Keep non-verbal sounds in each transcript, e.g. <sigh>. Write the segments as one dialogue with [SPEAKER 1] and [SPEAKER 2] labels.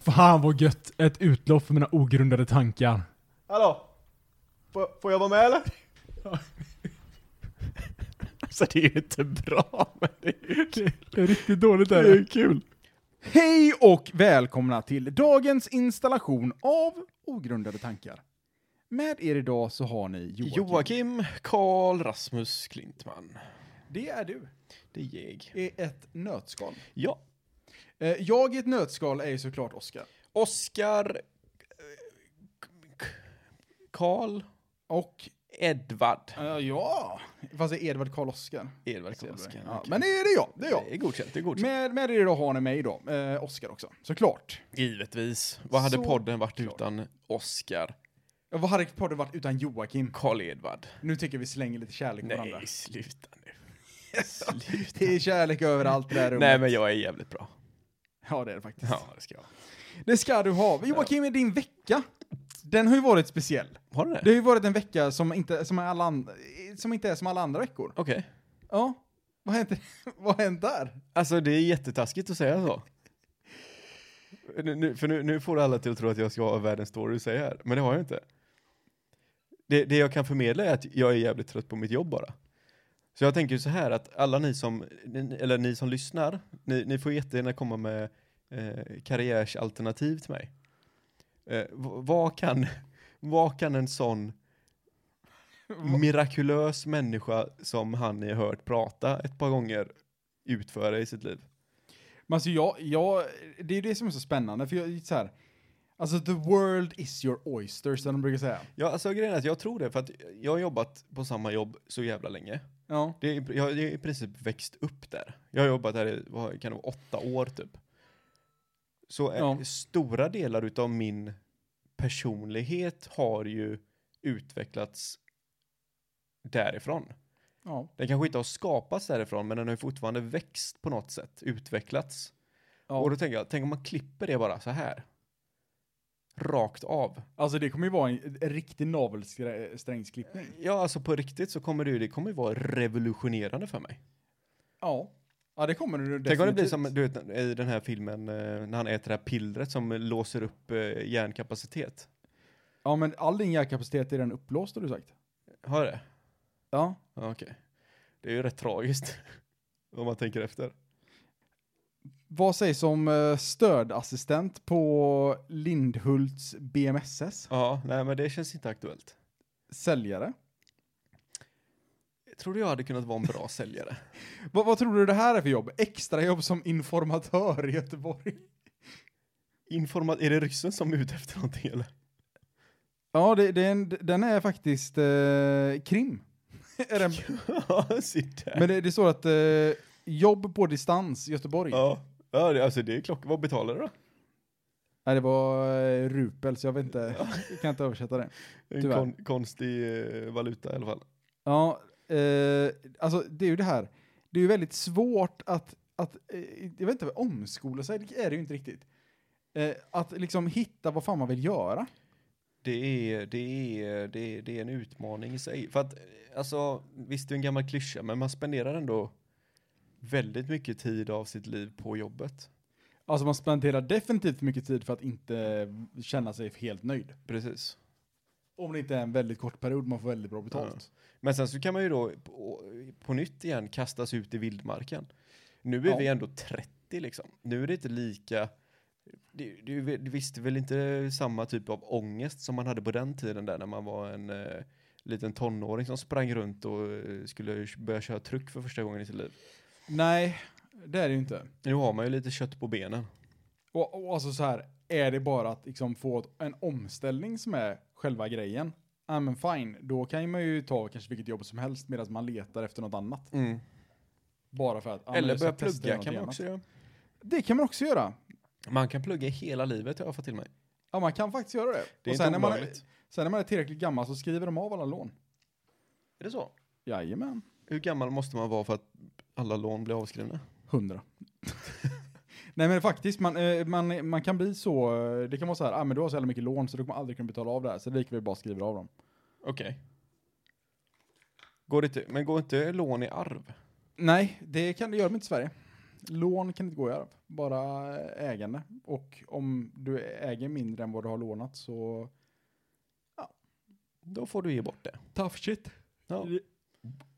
[SPEAKER 1] Fan vad gött! Ett utlopp för mina ogrundade tankar.
[SPEAKER 2] Hallå? Får, får jag vara med eller?
[SPEAKER 3] <laughs> Alltså det är ju inte bra, men det är ju kul.
[SPEAKER 1] Det är riktigt dåligt
[SPEAKER 3] Det är ju kul.
[SPEAKER 4] Hej och välkomna till dagens installation av Ogrundade tankar. Med er idag så har ni Joakim.
[SPEAKER 3] Joakim Karl Rasmus Klintman.
[SPEAKER 4] Det är du.
[SPEAKER 3] Det är jag.
[SPEAKER 4] Är ett nötskal.
[SPEAKER 3] Ja.
[SPEAKER 4] Eh, Jag i ett nötskal är ju såklart Oskar.
[SPEAKER 3] Oskar... eh, Karl
[SPEAKER 4] Och
[SPEAKER 3] Edvard.
[SPEAKER 4] eh, ja, fast det är Edvard Karl Oskar.
[SPEAKER 3] Edvard
[SPEAKER 4] Ser
[SPEAKER 3] Karl
[SPEAKER 4] du
[SPEAKER 3] Oskar.
[SPEAKER 4] det? Ja,
[SPEAKER 3] okej.
[SPEAKER 4] men det är det jag, det är jag.
[SPEAKER 3] Det är godkänt, det är godkänt.
[SPEAKER 4] Med, med er idag har ni mig då, eh, Oskar också, såklart.
[SPEAKER 3] Givetvis. Vad hade
[SPEAKER 4] Så
[SPEAKER 3] podden varit
[SPEAKER 4] klart.
[SPEAKER 3] utan Oskar
[SPEAKER 4] Ja, Vad hade podden varit utan Joakim?
[SPEAKER 3] Karl Edvard?
[SPEAKER 4] Nu tycker jag vi slänger lite kärlek på varandra.
[SPEAKER 3] Nej, sluta nu. Sluta.
[SPEAKER 4] Det är kärlek överallt där rummet.
[SPEAKER 3] Nej, men jag är jävligt bra.
[SPEAKER 4] Ja, det är det faktiskt.
[SPEAKER 3] Ja, det ska jag.
[SPEAKER 4] Det ska du ha. Joakim, din vecka, den har ju varit speciell.
[SPEAKER 3] Har du det?
[SPEAKER 4] Det har ju varit en vecka som inte, som är alla and- som inte är som alla andra veckor.
[SPEAKER 3] Okej.
[SPEAKER 4] Ja. Vad har hänt, <laughs> vad har hänt där?
[SPEAKER 3] Alltså, det är jättetaskigt att säga så. Nu, nu, för nu, nu får alla till att tro att jag ska ha världens story att säga här, men det har jag inte. Det, det jag kan förmedla är att jag är jävligt trött på mitt jobb bara. Så jag tänker så här att alla ni som, ni- eller ni som lyssnar, ni, ni får jättegärna komma med eh, karriärsalternativ till mig. Eh, v- vad, kan, vad kan en sån
[SPEAKER 4] Mm.
[SPEAKER 3] mirakulös människa som han ni har hört prata ett par gånger utföra i sitt liv?
[SPEAKER 4] Men alltså jag, jag, det är ju det som är så spännande, för jag, så här, alltså the world is your oyster, som de brukar säga.
[SPEAKER 3] Ja, alltså grejen är att jag tror det, för att jag har jobbat på samma jobb så jävla länge.
[SPEAKER 4] Ja.
[SPEAKER 3] Det är, jag har i princip växt upp där. Jag har jobbat här i, vad kan det vara, åtta år typ. Så eh,
[SPEAKER 4] Ja.
[SPEAKER 3] stora delar utav min personlighet har ju utvecklats därifrån.
[SPEAKER 4] Ja.
[SPEAKER 3] Den kanske inte har skapats därifrån, men den har ju fortfarande växt på något sätt, utvecklats.
[SPEAKER 4] Ja.
[SPEAKER 3] Och då tänker jag, tänk om man klipper det bara så här. Rakt av.
[SPEAKER 4] Alltså det kommer ju vara en, en riktig navelsträngsklippning.
[SPEAKER 3] Ja, alltså på riktigt så kommer det ju, det kommer ju vara revolutionerande för mig.
[SPEAKER 4] Ja. Ja, det kommer du definitivt.
[SPEAKER 3] Tänk om det blir som, du vet, i den här filmen eh, när han äter det här pillret som låser upp eh, hjärnkapacitet.
[SPEAKER 4] Ja, men all din hjärnkapacitet är den uppblåst, har du sagt.
[SPEAKER 3] Har det?
[SPEAKER 4] Ja.
[SPEAKER 3] Ja, Okej. Det är ju rätt tragiskt. <laughs> om man tänker efter.
[SPEAKER 4] Vad sägs om eh, stödassistent på Lindhults BMSS?
[SPEAKER 3] Ja, nej men det känns inte aktuellt.
[SPEAKER 4] Säljare?
[SPEAKER 3] Jag tror jag hade kunnat vara en bra säljare.
[SPEAKER 4] Vad- vad tror du det här är för jobb? Extrajobb som informatör i Göteborg?
[SPEAKER 3] Informa är det ryssen som är ute efter någonting eller? <laughs>
[SPEAKER 4] Ja, det, det är en, den är faktiskt eh, krim. <laughs> är den,
[SPEAKER 3] Ja, se där.
[SPEAKER 4] men det, det står att eh, jobb på distans, Göteborg.
[SPEAKER 3] Ja, ja det, alltså det är klockan. Vad betalar du då?
[SPEAKER 4] Nej, det var eh, rupel, så jag vet inte. Jag kan inte översätta det.
[SPEAKER 3] En
[SPEAKER 4] Tyvärr.
[SPEAKER 3] kon, konstig eh, valuta i alla fall.
[SPEAKER 4] Ja, eh, alltså det är ju det här. Det är ju väldigt svårt att, att eh, jag vet inte, omskola sig, det är det ju inte riktigt. Eh, att liksom hitta vad fan man vill göra.
[SPEAKER 3] Det är, det, är, det, är, det är en utmaning i sig. För att, eh, alltså, visst det är en gammal klyscha, men man spenderar ändå väldigt mycket tid av sitt liv på jobbet.
[SPEAKER 4] Alltså man spenderar definitivt för mycket tid för att inte känna sig helt nöjd.
[SPEAKER 3] Precis.
[SPEAKER 4] Om det inte är en väldigt kort period man får väldigt bra betalt.
[SPEAKER 3] Men sen så kan man ju då på, på nytt igen kastas ut i vildmarken. Nu är
[SPEAKER 4] Ja.
[SPEAKER 3] vi ändå 30 liksom. Nu är det inte lika... Det, det, är ju- visst, det är väl inte samma typ av ångest som man hade på den tiden där när man var en eh, liten tonåring som sprang runt och eh, skulle börja köra truck för första gången i sitt liv.
[SPEAKER 4] Nej, det är det ju inte.
[SPEAKER 3] Nu har man ju lite kött på benen.
[SPEAKER 4] Och, och alltså så här, är det bara att liksom få ett- en omställning som är själva grejen? Ja men fine, då kan man ju ta kanske vilket jobb som helst medan man letar efter något annat.
[SPEAKER 3] Mm.
[SPEAKER 4] Bara för att... ja, men
[SPEAKER 3] Eller
[SPEAKER 4] jag ska
[SPEAKER 3] börja
[SPEAKER 4] testa
[SPEAKER 3] plugga
[SPEAKER 4] något
[SPEAKER 3] kan man
[SPEAKER 4] annat.
[SPEAKER 3] också göra.
[SPEAKER 4] Det kan man också göra.
[SPEAKER 3] Man kan plugga hela livet har jag fått till mig.
[SPEAKER 4] Ja, man kan faktiskt göra det.
[SPEAKER 3] Det är
[SPEAKER 4] och sen
[SPEAKER 3] inte
[SPEAKER 4] när, man är,
[SPEAKER 3] olagligt.
[SPEAKER 4] sen när man är tillräckligt gammal så skriver de av alla lån.
[SPEAKER 3] Är det så?
[SPEAKER 4] Jajamän.
[SPEAKER 3] Hur gammal måste man vara för att alla lån blir avskrivna?
[SPEAKER 4] Hundra. <laughs> Nej men faktiskt, man, eh, man, man kan bli så, eh, det kan vara så här, ah, men du har så jävla mycket lån så du kommer aldrig kunna betala av det här, så det är lika väl bara skriver av dem.
[SPEAKER 3] Okej. Går det inte, men går inte lån i arv?
[SPEAKER 4] Nej, det kan det göra inte i Sverige. Lån kan inte gå i arv, bara eh, ägande. Och om du äger mindre än vad du har lånat så...
[SPEAKER 3] Då får du ge bort det.
[SPEAKER 4] Tough shit.
[SPEAKER 3] Ja.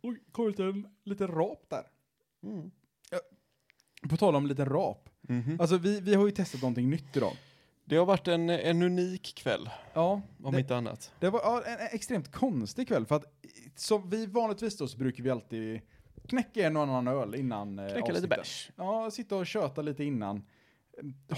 [SPEAKER 4] Oj, kom <laughs> ut en liten rap där.
[SPEAKER 3] Mm.
[SPEAKER 4] På tal om liten rap.
[SPEAKER 3] Mhm.
[SPEAKER 4] Alltså vi, vi har ju testat någonting nytt idag.
[SPEAKER 3] Det har varit en, en unik kväll,
[SPEAKER 4] Ja,
[SPEAKER 3] om
[SPEAKER 4] det,
[SPEAKER 3] inte annat.
[SPEAKER 4] det var ja, en, en extremt konstig kväll för att i- som vi vanligtvis då så brukar vi alltid knäcka en och annan öl innan eh,
[SPEAKER 3] Knäcka lite bärs.
[SPEAKER 4] Ja, sitta och köta lite innan.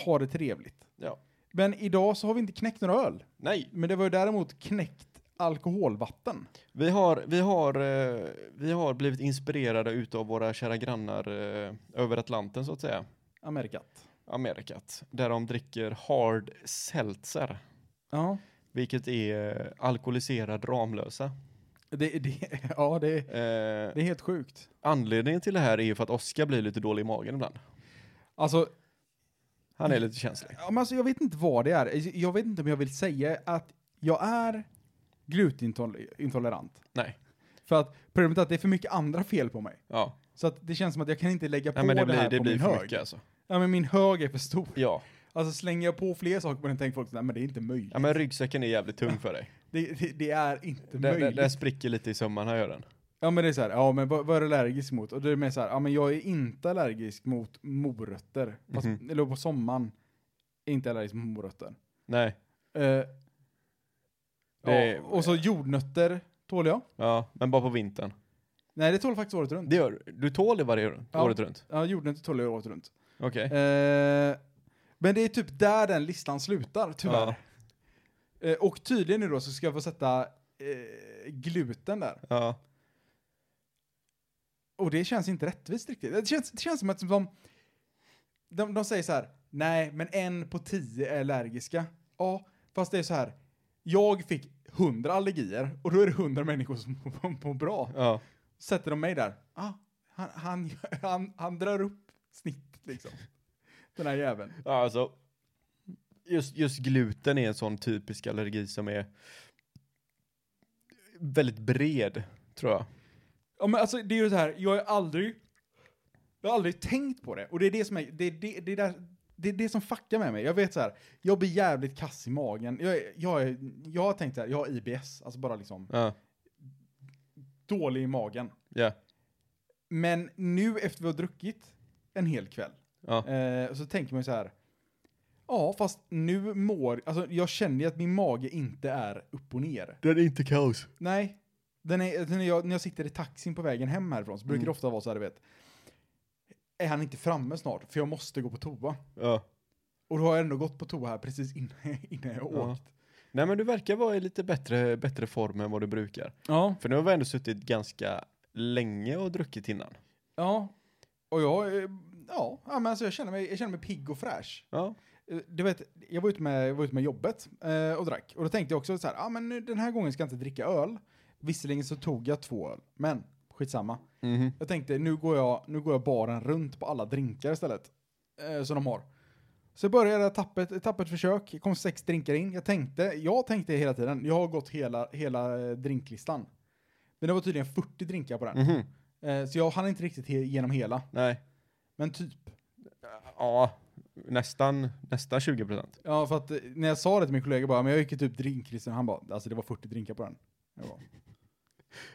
[SPEAKER 4] Ha det trevligt.
[SPEAKER 3] Ja.
[SPEAKER 4] Men idag så har vi inte knäckt några öl.
[SPEAKER 3] Nej,
[SPEAKER 4] Men det var ju däremot knäckt alkoholvatten.
[SPEAKER 3] vi har, vi, har, eh, vi har blivit inspirerade utav våra kära grannar eh, över Atlanten, så att säga.
[SPEAKER 4] Amerikat.
[SPEAKER 3] Amerikat. Där de dricker hard seltzer,
[SPEAKER 4] Ja.
[SPEAKER 3] vilket är eh, alkoholiserad Ramlösa.
[SPEAKER 4] Det, det, <laughs> ja, det,
[SPEAKER 3] Eh,
[SPEAKER 4] det är helt sjukt.
[SPEAKER 3] anledningen till det här är ju för att Oskar blir lite dålig i magen ibland.
[SPEAKER 4] Alltså,
[SPEAKER 3] Han är lite känslig.
[SPEAKER 4] ja, men alltså, jag vet inte vad det är. Jag vet inte om jag vill säga att jag är glutenintolerant.
[SPEAKER 3] Nej,
[SPEAKER 4] För att problemet är att det är för mycket andra fel på mig.
[SPEAKER 3] ja.
[SPEAKER 4] Så att det känns som att jag kan inte lägga på
[SPEAKER 3] Nej men det
[SPEAKER 4] det här
[SPEAKER 3] blir, det
[SPEAKER 4] på
[SPEAKER 3] blir
[SPEAKER 4] min
[SPEAKER 3] för
[SPEAKER 4] hög.
[SPEAKER 3] mycket alltså.
[SPEAKER 4] Ja, men min hög är för stor.
[SPEAKER 3] Ja.
[SPEAKER 4] Alltså slänger jag på fler saker på den tänker folk nej men det är inte möjligt.
[SPEAKER 3] ja, men ryggsäcken är jävligt tung för dig.
[SPEAKER 4] Det, det, det är inte
[SPEAKER 3] Den, den,
[SPEAKER 4] möjligt.
[SPEAKER 3] den spricker lite i sömmarna gör den.
[SPEAKER 4] Ja men det är så här, ja men vad, vad är du allergisk mot? Och då är det mer så här, ja men jag är inte allergisk mot morötter. Fast,
[SPEAKER 3] Mhm.
[SPEAKER 4] Eller på sommaren, är inte allergisk mot morötter.
[SPEAKER 3] Nej,
[SPEAKER 4] Eh,
[SPEAKER 3] Det-
[SPEAKER 4] ja, och så jordnötter tål jag.
[SPEAKER 3] ja, men bara på vintern.
[SPEAKER 4] Nej det tål faktiskt året runt.
[SPEAKER 3] Det gör du. Du tål det varje år,
[SPEAKER 4] Ja.
[SPEAKER 3] året runt?
[SPEAKER 4] Ja jordnötter tål jag året runt.
[SPEAKER 3] Okej.
[SPEAKER 4] Eh, men det är typ där den listan slutar tyvärr. Eh, och tydligen nu då så ska jag få sätta eh, gluten där.
[SPEAKER 3] Ja.
[SPEAKER 4] Och det känns inte rättvist riktigt. Det känns, det känns som att de, de, de säger så här, nej men en på tio är allergiska. Ja, fast det är så här, jag fick hundra allergier och då är det hundra människor som <laughs> mår- mår bra.
[SPEAKER 3] ja.
[SPEAKER 4] Sätter de mig där, ah, han, han, <laughs> han, han drar upp snittet liksom. Den här jäveln.
[SPEAKER 3] ja, alltså. Just, just gluten är en sån typisk allergi som är väldigt bred, tror jag.
[SPEAKER 4] Ja men alltså det är ju så här, jag har ju aldrig, jag har aldrig tänkt på det. Och det är det som är, det är det, det, är där, det, är det som fuckar med mig. Jag vet så här, jag blir jävligt kass i magen. Jag, är- jag, är, jag har tänkt så här, jag har IBS, alltså bara liksom
[SPEAKER 3] Ja,
[SPEAKER 4] dålig i magen.
[SPEAKER 3] ja,
[SPEAKER 4] Men nu efter vi har druckit en hel kväll,
[SPEAKER 3] ja.
[SPEAKER 4] eh, så tänker man ju så här, ja fast nu mår, alltså jag känner ju att min mage inte är upp och ner.
[SPEAKER 3] Den är inte kaos.
[SPEAKER 4] Nej. Den är, den är jag, när jag sitter i taxin på vägen hem härifrån så brukar det ofta vara så här, du vet. Är han inte framme snart? För jag måste gå på toa.
[SPEAKER 3] Ja.
[SPEAKER 4] Och då har jag ändå gått på toa här precis innan, <laughs> innan jag
[SPEAKER 3] Ja.
[SPEAKER 4] åkt.
[SPEAKER 3] Nej, men du verkar vara i lite bättre, bättre form än vad du brukar.
[SPEAKER 4] Ja.
[SPEAKER 3] För nu har vi ändå suttit ganska länge och druckit innan.
[SPEAKER 4] Ja. Och jag, eh, ja, ja men alltså jag känner mig, jag känner mig pigg och fräsch.
[SPEAKER 3] Ja,
[SPEAKER 4] Eh, Du vet, jag var ute med, jag var ute med jobbet eh, och drack. Och då tänkte jag också så här, ja ah, men nu- den här gången ska jag inte dricka öl. Visserligen så tog jag två öl, men skitsamma.
[SPEAKER 3] Mhm.
[SPEAKER 4] Jag tänkte, nu går jag, nu går jag baren runt på alla drinkar istället. Eh, som de har. Så jag började jag tappet, ett tappert försök, kom sex drinkar in. Jag tänkte, jag tänkte hela tiden, jag har gått hela, hela eh, drinklistan. Men det var tydligen 40 drinkar på den.
[SPEAKER 3] Mhm.
[SPEAKER 4] Eh, så jag hann inte riktigt he- genom hela,
[SPEAKER 3] nej.
[SPEAKER 4] men typ.
[SPEAKER 3] Ja, nästan, nästan 20 procent.
[SPEAKER 4] Ja, för att eh, när jag sa det till min kollega bara, men jag gick ju typ drinklistan, han bara, alltså det var 40 drinkar på den. Jag bara,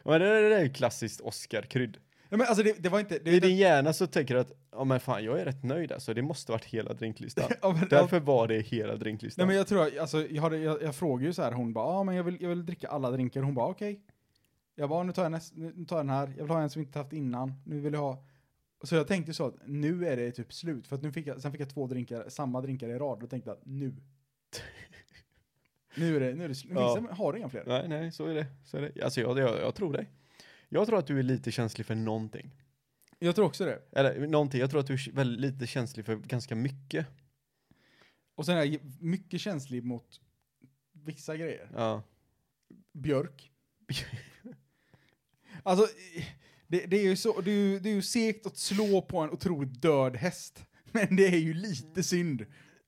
[SPEAKER 3] Men det, det där är ju klassiskt Oscar-krydd.
[SPEAKER 4] Nej men alltså det, det var inte... Det,
[SPEAKER 3] I din hjärna så tänker du att, ja men fan jag är rätt nöjd alltså, det måste varit hela drinklistan.
[SPEAKER 4] <laughs> ja, men, ja,
[SPEAKER 3] Därför var det hela drinklistan.
[SPEAKER 4] Nej men jag tror, alltså jag, hade, jag, jag frågade ju så här, hon bara, ah, men jag vill, jag vill dricka alla drinkar. Hon bara, okej. Jag bara, nu tar jag, näst, nu nu tar jag den här, jag vill ha en som inte haft innan, nu vill jag ha. Så jag tänkte så att nu är det typ slut, för att nu fick jag, sen fick jag två drinkar, samma drinkar i rad, och tänkte jag, nu. nu är det, nu är det slut.
[SPEAKER 3] Ja.
[SPEAKER 4] Vissa har inga fler.
[SPEAKER 3] nej, nej, så är det. Så är det. Alltså jag, jag, jag tror dig. Jag tror att du är lite känslig för någonting.
[SPEAKER 4] Jag tror också det.
[SPEAKER 3] Eller någonting, jag tror att du är väldigt lite känslig för ganska mycket.
[SPEAKER 4] Och sen är jag mycket känslig mot vissa grejer.
[SPEAKER 3] Ja.
[SPEAKER 4] Björk. <laughs> Alltså, det, det är ju så, det är ju, det är ju segt att slå på en otroligt död häst. <laughs> Men det är ju lite synd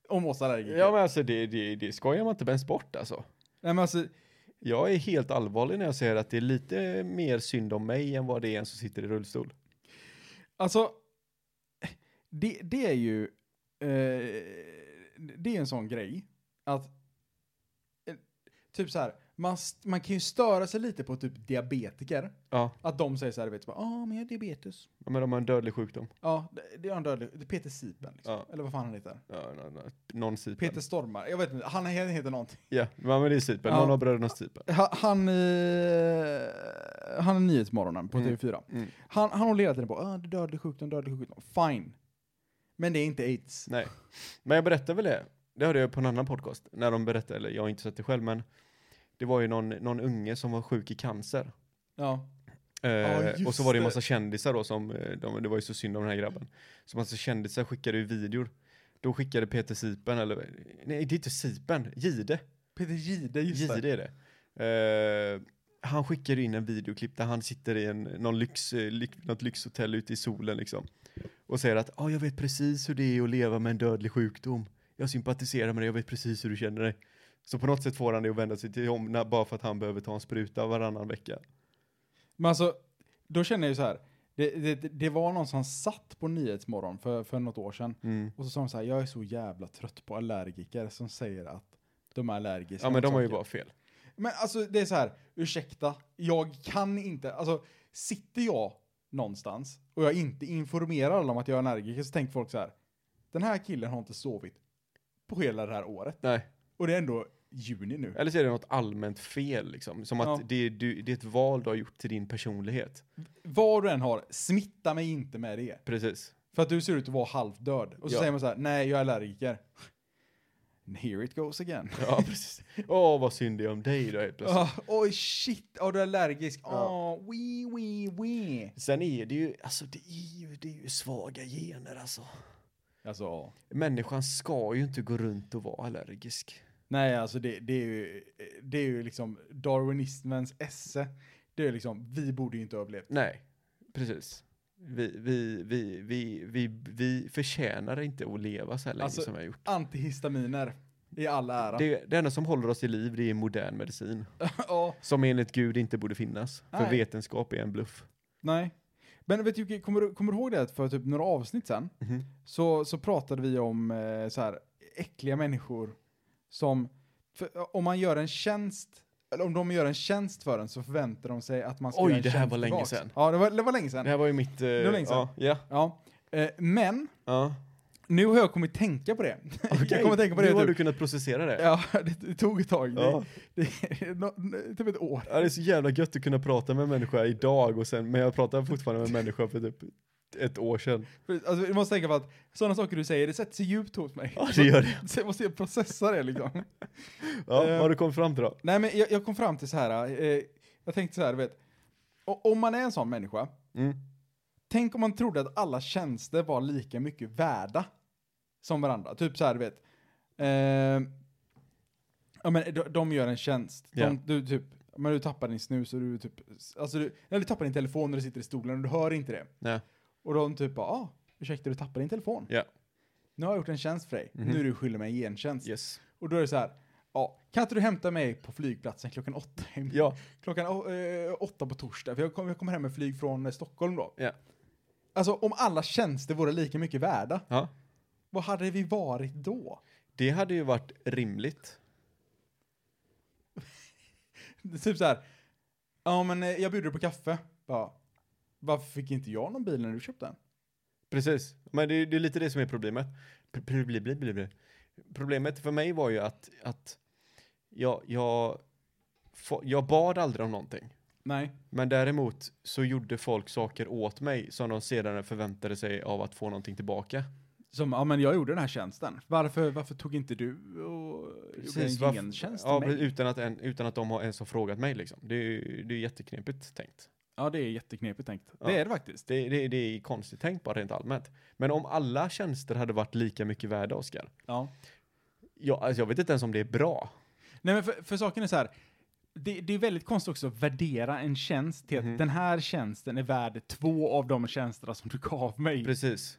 [SPEAKER 4] om oss allergiker.
[SPEAKER 3] Mm. Ja men alltså det, det, det skojar man inte ens bort alltså.
[SPEAKER 4] Nej men alltså,
[SPEAKER 3] Jag är helt allvarlig när jag säger att det är lite mer synd om mig än vad det är en som sitter i rullstol.
[SPEAKER 4] alltså, det, det är ju eh, det är en sån grej att eh, typ så här, man, st- man kan ju störa sig lite på typ diabetiker.
[SPEAKER 3] Ja,
[SPEAKER 4] Att de säger så här, vet, bara, ah, men jag har diabetes.
[SPEAKER 3] ja, men de har en dödlig sjukdom.
[SPEAKER 4] Ja, det- det är en dödlig, det är Peter Sipen liksom.
[SPEAKER 3] Ja.
[SPEAKER 4] Eller vad fan han heter.
[SPEAKER 3] Ja, nå- nå- någon sipen.
[SPEAKER 4] Peter Stormar, jag vet inte, han heter någonting.
[SPEAKER 3] Ja, men det är sipen.
[SPEAKER 4] Ja.
[SPEAKER 3] Någon av brödernas sipen.
[SPEAKER 4] Ha- Han, eh, han är Nyhetsmorgonen på
[SPEAKER 3] Mm.
[SPEAKER 4] TV4.
[SPEAKER 3] Mm.
[SPEAKER 4] Han, han håller hela tiden på att det är dödlig sjukdom, dödlig sjukdom. Fine. Men det är inte aids.
[SPEAKER 3] Nej. Men jag berättade väl det. Det hörde jag på en annan podcast. När de berättade, eller jag har inte sett det själv, men det var ju någon, någon unge som var sjuk i cancer.
[SPEAKER 4] Ja.
[SPEAKER 3] Eh,
[SPEAKER 4] Ja, just
[SPEAKER 3] och så var det en
[SPEAKER 4] det.
[SPEAKER 3] massa kändisar då som, eh, de, det var ju så synd om den här grabben. Så massa kändisar skickade ju videor. Då skickade Peter Sipen, eller nej det är inte Sipen, Gide.
[SPEAKER 4] Peter Gide, just det.
[SPEAKER 3] Gide är det. Eh, han skickade in en videoklipp där han sitter i en, någon lyx, eh, lyx, något lyxhotell ute i solen liksom. Och säger att ah, jag vet precis hur det är att leva med en dödlig sjukdom. Jag sympatiserar med dig, jag vet precis hur du känner dig. Så på något sätt får han det att vända sig till om när- bara för att han behöver ta en spruta varannan vecka.
[SPEAKER 4] Men alltså, då känner jag ju så här. Det, det, det var någon som satt på Nyhetsmorgon för, för något år sedan.
[SPEAKER 3] Mm.
[SPEAKER 4] Och så sa de så här, jag är så jävla trött på allergiker som säger att de är allergiska.
[SPEAKER 3] Ja men de
[SPEAKER 4] mot
[SPEAKER 3] har ju
[SPEAKER 4] saker."
[SPEAKER 3] bara fel.
[SPEAKER 4] Men alltså det är så här, ursäkta, jag kan inte, alltså sitter jag någonstans och jag inte informerar alla om att jag är allergiker så tänker folk så här, den här killen har inte sovit på hela det här året.
[SPEAKER 3] Nej.
[SPEAKER 4] Och det är ändå juni nu.
[SPEAKER 3] Eller så är det något allmänt fel liksom. Som att
[SPEAKER 4] Ja.
[SPEAKER 3] det, du, det är ett val du har gjort till din personlighet.
[SPEAKER 4] Vad du än har, smitta mig inte med det.
[SPEAKER 3] Precis.
[SPEAKER 4] För att du ser ut att vara halvdöd. Och så
[SPEAKER 3] Ja.
[SPEAKER 4] säger man så här, nej jag är allergiker. And here it goes again.
[SPEAKER 3] Ja <laughs> precis. Åh vad synd det är om dig då helt plötsligt.
[SPEAKER 4] <laughs> Ah, Oj shit, oh, du är allergisk. Åh,
[SPEAKER 3] Ja.
[SPEAKER 4] wee wee wee.
[SPEAKER 3] Sen är det ju, alltså det är ju, det är ju svaga gener alltså.
[SPEAKER 4] Alltså, ja.
[SPEAKER 3] Människan ska ju inte gå runt och vara allergisk.
[SPEAKER 4] Nej, alltså det, det, är ju, det är ju liksom darwinismens esse. Det är liksom, vi borde ju inte ha överlevt.
[SPEAKER 3] Nej, precis. Vi, vi, vi, vi, vi, vi förtjänar inte att leva så här länge
[SPEAKER 4] Alltså,
[SPEAKER 3] som vi har gjort.
[SPEAKER 4] Antihistaminer i all ära.
[SPEAKER 3] Det, det enda som håller oss i liv det är modern medicin.
[SPEAKER 4] <laughs> ja,
[SPEAKER 3] Som enligt Gud inte borde finnas. För
[SPEAKER 4] Nej.
[SPEAKER 3] vetenskap är en bluff.
[SPEAKER 4] nej. Men vet du, kommer, du- kommer du ihåg det att för typ några avsnitt sen
[SPEAKER 3] Mhm.
[SPEAKER 4] så, så pratade vi om eh, så här äckliga människor som, för, om man gör en tjänst, eller om de gör en tjänst för en så förväntar de sig att man ska
[SPEAKER 3] Oj,
[SPEAKER 4] göra en
[SPEAKER 3] det här
[SPEAKER 4] tjänst
[SPEAKER 3] var länge
[SPEAKER 4] tillbaks.
[SPEAKER 3] sedan.
[SPEAKER 4] Ja, det var, det var länge
[SPEAKER 3] Det
[SPEAKER 4] sedan.
[SPEAKER 3] här var ju mitt... Eh,
[SPEAKER 4] Det var länge sedan.
[SPEAKER 3] ja, ja,
[SPEAKER 4] Ja. Eh, men, <laughs>
[SPEAKER 3] ja.
[SPEAKER 4] nu har jag kommit tänka på det.
[SPEAKER 3] Okej,
[SPEAKER 4] <laughs> Jag kommer tänka på det
[SPEAKER 3] Nu har
[SPEAKER 4] typ.
[SPEAKER 3] du kunnat processera <laughs> det.
[SPEAKER 4] Ja, det, det tog ett tag.
[SPEAKER 3] Ja.
[SPEAKER 4] Det, det, nå- nå- typ ett år.
[SPEAKER 3] Ja, det är så jävla gött att kunna prata med en människa idag och sen, men jag pratar fortfarande med en människa för typ ett år sedan.
[SPEAKER 4] För, Alltså, du måste tänka på att sådana saker du säger, det sätter sig djupt hos mig.
[SPEAKER 3] Ja, det gör
[SPEAKER 4] <laughs>
[SPEAKER 3] det.
[SPEAKER 4] Så jag måste jag processa det liksom.
[SPEAKER 3] Ja, vad
[SPEAKER 4] Eh.
[SPEAKER 3] har du kommit fram till då?
[SPEAKER 4] Nej, men jag, jag kom fram till så här, eh, jag tänkte så här, du vet. o- Om man är en sån människa,
[SPEAKER 3] Mm.
[SPEAKER 4] tänk om man trodde att alla tjänster var lika mycket värda som varandra. Typ så här, du vet. Eh, ja, men de, de gör en tjänst. De,
[SPEAKER 3] Ja.
[SPEAKER 4] Du typ, men du tappar din snus och du typ, alltså du, när du tappar din telefon när du sitter i stolen och du hör inte det.
[SPEAKER 3] Nej.
[SPEAKER 4] Och de typ bara, ah, ursäkta du tappade din telefon.
[SPEAKER 3] Ja.
[SPEAKER 4] Nu har jag gjort en tjänst för dig.
[SPEAKER 3] Mhm.
[SPEAKER 4] Nu är du skyldig mig en gentjänst.
[SPEAKER 3] Yes.
[SPEAKER 4] Och då är det så här, ja, kan inte du hämta mig på flygplatsen klockan åtta? i-
[SPEAKER 3] Ja,
[SPEAKER 4] Klockan å- eh, åtta på torsdag, för jag kommer jag kommer hem med flyg från eh, Stockholm då.
[SPEAKER 3] Ja.
[SPEAKER 4] Alltså om alla tjänster vore lika mycket värda,
[SPEAKER 3] ja.
[SPEAKER 4] vad hade vi varit då? <laughs>
[SPEAKER 3] Det hade ju varit rimligt.
[SPEAKER 4] Det är typ så här, ja men eh, jag bjuder dig på kaffe. Bara, varför fick inte jag någon bil när du köpte den?
[SPEAKER 3] Precis. Men det, är- det är lite det som är problemet. Pr- pr- bli- bli- bli- bli. Problemet för mig var ju att, att jag, jag, få- jag bad aldrig om någonting.
[SPEAKER 4] Nej.
[SPEAKER 3] Men däremot så gjorde folk saker åt mig som de sedan förväntade sig av att få någonting tillbaka.
[SPEAKER 4] Som, ja men jag gjorde den här tjänsten. Varför, varför tog inte du och
[SPEAKER 3] Precis,
[SPEAKER 4] gjorde
[SPEAKER 3] varför-
[SPEAKER 4] en gentjänst
[SPEAKER 3] ja,
[SPEAKER 4] till mig?
[SPEAKER 3] precis, utan, att en, utan att de har ens har frågat mig liksom. Det är ju det är jätteknepigt tänkt.
[SPEAKER 4] Ja det är jätteknepigt tänkt.
[SPEAKER 3] Ja.
[SPEAKER 4] Det är det faktiskt.
[SPEAKER 3] Det, det, det är konstigt tänkt bara rent allmänt. Men om alla tjänster hade varit lika mycket värda, Oskar.
[SPEAKER 4] Ja.
[SPEAKER 3] Jag, alltså, jag vet inte ens om det är bra.
[SPEAKER 4] Nej men för, för saken är så här. Det, det är väldigt konstigt också att värdera en tjänst till att
[SPEAKER 3] Mhm.
[SPEAKER 4] den här tjänsten är värd två av de tjänsterna som du gav mig.
[SPEAKER 3] Precis.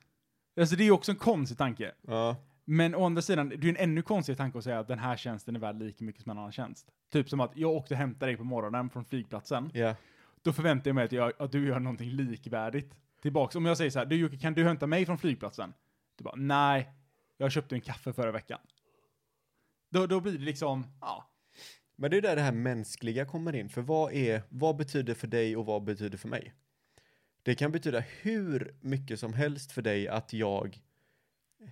[SPEAKER 4] Alltså det är ju också en konstig tanke.
[SPEAKER 3] Ja.
[SPEAKER 4] Men å andra sidan, det är ju en ännu konstigare tanke att säga att den här tjänsten är värd lika mycket som en annan tjänst. Typ som att jag åkte och hämtade dig på morgonen från flygplatsen.
[SPEAKER 3] ja.
[SPEAKER 4] Då förväntar jag mig att, jag, att du gör någonting likvärdigt. tillbaks. Om jag säger så här, du Jocke, kan du hämta mig från flygplatsen? Du bara, nej, jag köpte en kaffe förra veckan. Då, då blir det liksom, ja.
[SPEAKER 3] Men det är där det här mänskliga kommer in. För vad, är, vad betyder för dig och vad betyder för mig? Det kan betyda hur mycket som helst för dig att jag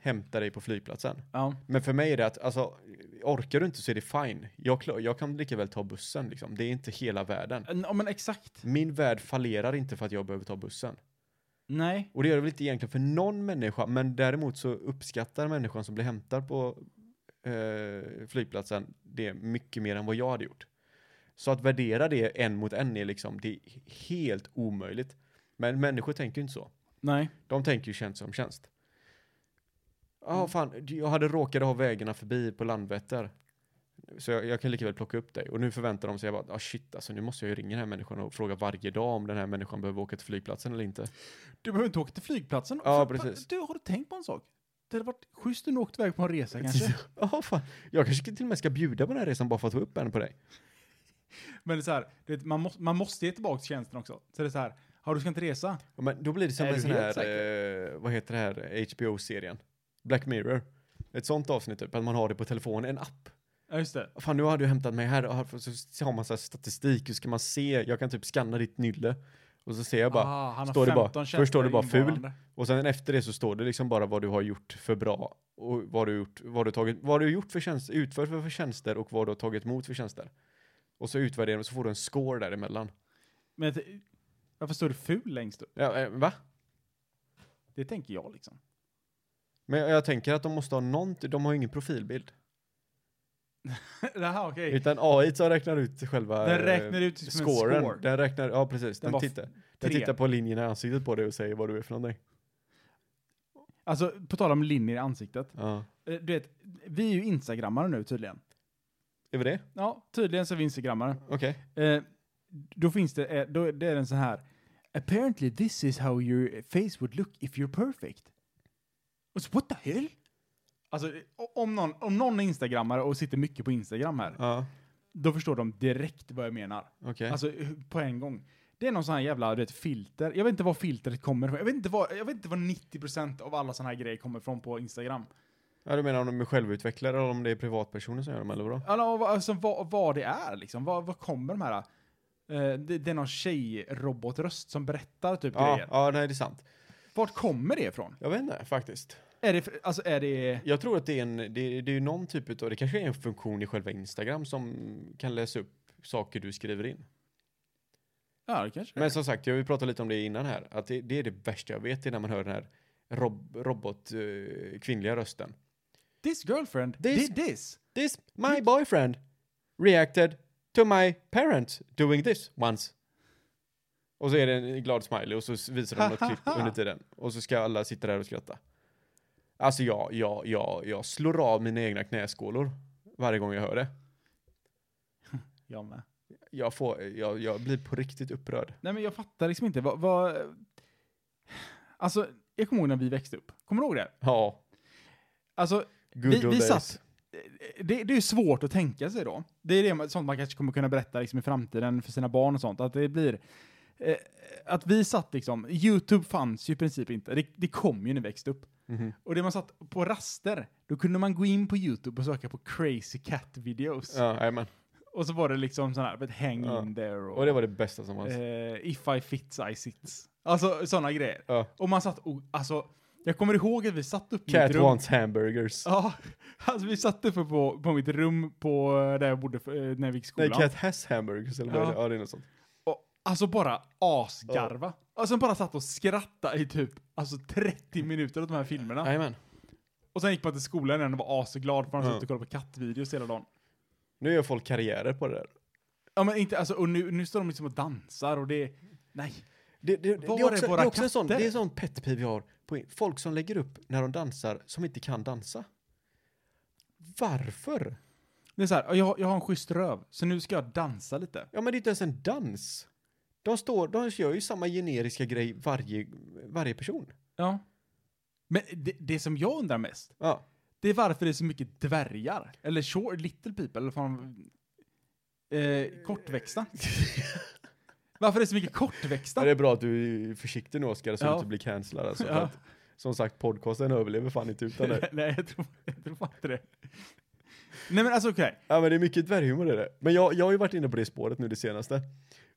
[SPEAKER 3] hämtar dig på flygplatsen.
[SPEAKER 4] ja.
[SPEAKER 3] Men för mig är det att, alltså, orkar du inte så är det fine. Jag, klar, jag kan lika väl ta bussen liksom. Det är inte hela världen.
[SPEAKER 4] Ja, men exakt.
[SPEAKER 3] Min värld fallerar inte för att jag behöver ta bussen.
[SPEAKER 4] Nej.
[SPEAKER 3] Och det gör det väl inte egentligen för någon människa, men däremot så uppskattar människan som blir hämtad på eh, flygplatsen det mycket mer än vad jag hade gjort. Så att värdera det en mot en är liksom, det är helt omöjligt. Men människor tänker ju inte så.
[SPEAKER 4] Nej.
[SPEAKER 3] De tänker ju tjänst som tjänst. Ja, fan, du- jag hade råkat ha vägarna förbi på Landvetter. Så jag, jag kan lika väl plocka upp dig. Och nu förväntar de sig, jag bara, ah shit alltså, nu måste jag ju ringa den här människan och fråga varje dag om den här människan behöver åka till flygplatsen eller inte.
[SPEAKER 4] Du behöver inte åka till flygplatsen.
[SPEAKER 3] Ja,
[SPEAKER 4] För-
[SPEAKER 3] precis.
[SPEAKER 4] Du, har du tänkt på en sak? Det hade varit schysst om du åkte iväg på en
[SPEAKER 3] <laughs>
[SPEAKER 4] resa kanske.
[SPEAKER 3] Ja, fan. Jag kanske till och med ska bjuda på den här resan bara för att få upp en på dig.
[SPEAKER 4] Men det är så här, du vet, man, måste, man måste ge tillbaka tjänsten också. Så det är så här, har du ska inte resa?
[SPEAKER 3] Ja, men då blir det som
[SPEAKER 4] Är
[SPEAKER 3] en
[SPEAKER 4] du
[SPEAKER 3] sån
[SPEAKER 4] helt
[SPEAKER 3] här, eh, vad heter det här, HBO-serien? Black Mirror. Ett sånt avsnitt typ, att man har det på telefonen, en app.
[SPEAKER 4] Ja, just det.
[SPEAKER 3] Fan, nu har du hämtat mig här och här- så har man så här statistik, hur ska man se? Jag kan typ scanna ditt nylle. Och så ser jag bara,
[SPEAKER 4] ah, han har
[SPEAKER 3] står det bara-
[SPEAKER 4] 15
[SPEAKER 3] först står det bara
[SPEAKER 4] tjänster
[SPEAKER 3] ful.
[SPEAKER 4] innevarande.
[SPEAKER 3] och sen efter det så står det liksom bara vad du har gjort för bra. Och vad du gjort, vad du tagit, vad du gjort för tjänst, utfört för tjänster och vad du har tagit emot för tjänster. Och så utvärderar du, så får du en score däremellan.
[SPEAKER 4] Men det- varför står det ful längst upp?
[SPEAKER 3] Ja, eh, va?
[SPEAKER 4] Det tänker jag liksom.
[SPEAKER 3] Men jag, jag tänker att de måste ha någonting, de har ju ingen profilbild.
[SPEAKER 4] <laughs> Jaha, okej.
[SPEAKER 3] Utan AI som räknar ut själva
[SPEAKER 4] Den
[SPEAKER 3] eh,
[SPEAKER 4] räknar ut som en
[SPEAKER 3] scoren.
[SPEAKER 4] score.
[SPEAKER 3] Den räknar, ja precis,
[SPEAKER 4] Den
[SPEAKER 3] den,
[SPEAKER 4] var f-
[SPEAKER 3] tittar. Den
[SPEAKER 4] tre.
[SPEAKER 3] tittar på linjerna i ansiktet på dig och säger vad du är för någonting.
[SPEAKER 4] Alltså, på tal om linjer i ansiktet.
[SPEAKER 3] Ja.
[SPEAKER 4] Eh, Du vet, vi är ju instagrammare nu tydligen.
[SPEAKER 3] Är vi det?
[SPEAKER 4] Ja, tydligen så är vi instagrammare.
[SPEAKER 3] Okej.
[SPEAKER 4] Eh, då finns det, eh, då, det är den så här. Apparently this is how your face would look if you're perfect. Och så what the hell? Alltså, eh, o- om någon, om någon är instagrammare och sitter mycket på Instagram här,
[SPEAKER 3] Ja,
[SPEAKER 4] då förstår de direkt vad jag menar.
[SPEAKER 3] okej.
[SPEAKER 4] Alltså eh, på en gång. Det är någon sån här jävla du vet, filter. Jag vet inte var filtret kommer ifrån. Jag vet inte var, jag vet inte var 90% av alla såna här grejer kommer ifrån på Instagram.
[SPEAKER 3] ja, du menar om de är självutvecklare eller om det är privatpersoner som gör dem eller vadå?
[SPEAKER 4] Alltså, vad- alltså vad, vad det är liksom. Vad, vad kommer de här... eh, det, det är någon tjejrobotröst som berättar typ
[SPEAKER 3] Ja,
[SPEAKER 4] grejer.
[SPEAKER 3] ja, nej det är sant.
[SPEAKER 4] Vart kommer det ifrån?
[SPEAKER 3] Jag vet inte faktiskt.
[SPEAKER 4] Är det, för- alltså är det...
[SPEAKER 3] Jag tror att det är en, det, det är ju någon typ utav, det kanske är en funktion i själva Instagram som kan läsa upp saker du skriver in.
[SPEAKER 4] Ja, det kanske
[SPEAKER 3] Men som sagt, jag vill prata lite om det innan här. Att det, det är det värsta jag vet, det är när man hör den här rob, robot, eh, kvinnliga rösten.
[SPEAKER 4] This girlfriend
[SPEAKER 3] This-
[SPEAKER 4] did this.
[SPEAKER 3] This,
[SPEAKER 4] Mm.
[SPEAKER 3] my boyfriend, reacted to my parents doing this once. Och så är det en glad smiley och så visar de något klipp
[SPEAKER 4] <laughs>
[SPEAKER 3] under tiden. Och så ska alla sitta där och skratta. Alltså jag, jag, jag, jag slår av mina egna knäskålor varje gång jag hör det.
[SPEAKER 4] Jag med.
[SPEAKER 3] Jag, får, jag, jag blir på riktigt upprörd.
[SPEAKER 4] Nej men jag fattar liksom inte. Vad... vad alltså, jag kommer ihåg när vi växte upp. Kommer du ihåg det?
[SPEAKER 3] Ja,
[SPEAKER 4] Alltså,
[SPEAKER 3] good
[SPEAKER 4] Vi-
[SPEAKER 3] old
[SPEAKER 4] vi
[SPEAKER 3] days.
[SPEAKER 4] satt- det, det är svårt att tänka sig då. Det är det man- sånt man kanske kommer kunna berätta liksom i framtiden för sina barn och sånt. Att det blir... Eh, att vi satt liksom... YouTube fanns ju i princip inte. Det, det kom ju när vi växte upp.
[SPEAKER 3] Mhm.
[SPEAKER 4] Och det man satt på raster, då kunde man gå in på YouTube och söka på crazy cat-videos.
[SPEAKER 3] Ja, jajamän.
[SPEAKER 4] Och så var det liksom sån här, vet, hang
[SPEAKER 3] Ja.
[SPEAKER 4] in there och,
[SPEAKER 3] Och det var det bästa som fanns.
[SPEAKER 4] eh, if I fits I sits. Alltså såna grejer.
[SPEAKER 3] Ja.
[SPEAKER 4] Och man satt och, alltså, jag kommer ihåg att vi satt upp i mitt
[SPEAKER 3] Cat
[SPEAKER 4] rum.
[SPEAKER 3] wants hamburgers.
[SPEAKER 4] Ja, <laughs> alltså vi satt uppe på, på mitt rum på, eh, där jag bodde för, eh, när jag gick i
[SPEAKER 3] Nej,
[SPEAKER 4] skolan.
[SPEAKER 3] Cat has hamburgers eller vad
[SPEAKER 4] Ja.
[SPEAKER 3] är det? Ja, det är något sånt.
[SPEAKER 4] och, alltså bara asgarva. Och sen bara satt och skrattade i typ alltså 30 minuter åt de här filmerna.
[SPEAKER 3] Jajamän.
[SPEAKER 4] Och sen gick man till skolan igen och var asglad för att man
[SPEAKER 3] Ja.
[SPEAKER 4] satt och kollade på kattvideos hela dagen.
[SPEAKER 3] Nu gör folk karriärer på det där.
[SPEAKER 4] Ja men inte, alltså och nu, nu står de liksom och dansar och det, nej.
[SPEAKER 3] Det, det, det,
[SPEAKER 4] Var
[SPEAKER 3] är också,
[SPEAKER 4] är våra
[SPEAKER 3] det är också en sån, det
[SPEAKER 4] katter?
[SPEAKER 3] är en sån pet peeve jag har. På, folk som lägger upp när de dansar som inte kan dansa. Varför?
[SPEAKER 4] Det är så här, jag, jag har en schysst röv, så nu ska jag dansa lite.
[SPEAKER 3] Ja men det är inte ens en dans. De, står, de gör ju samma generiska grej varje, varje person.
[SPEAKER 4] Ja. Men det, det som jag undrar mest,
[SPEAKER 3] Ja.
[SPEAKER 4] det är varför det är så mycket dvärgar. Eller <laughs> short, little people, eller fan... Eh, kortväxta. Varför är det så mycket
[SPEAKER 3] Men
[SPEAKER 4] kortväxta?
[SPEAKER 3] det är bra att du är försiktig nu Oskar så
[SPEAKER 4] Ja.
[SPEAKER 3] att du inte blir cancellad alltså. för
[SPEAKER 4] Ja.
[SPEAKER 3] Att, som sagt, podcasten överlever fan inte utan dig.
[SPEAKER 4] <laughs> Nej, jag tror, jag tror fan inte det. Nej men alltså okej.
[SPEAKER 3] Ja men det är mycket dvärghumor det är det. Men jag, jag har ju varit inne på det spåret nu det senaste.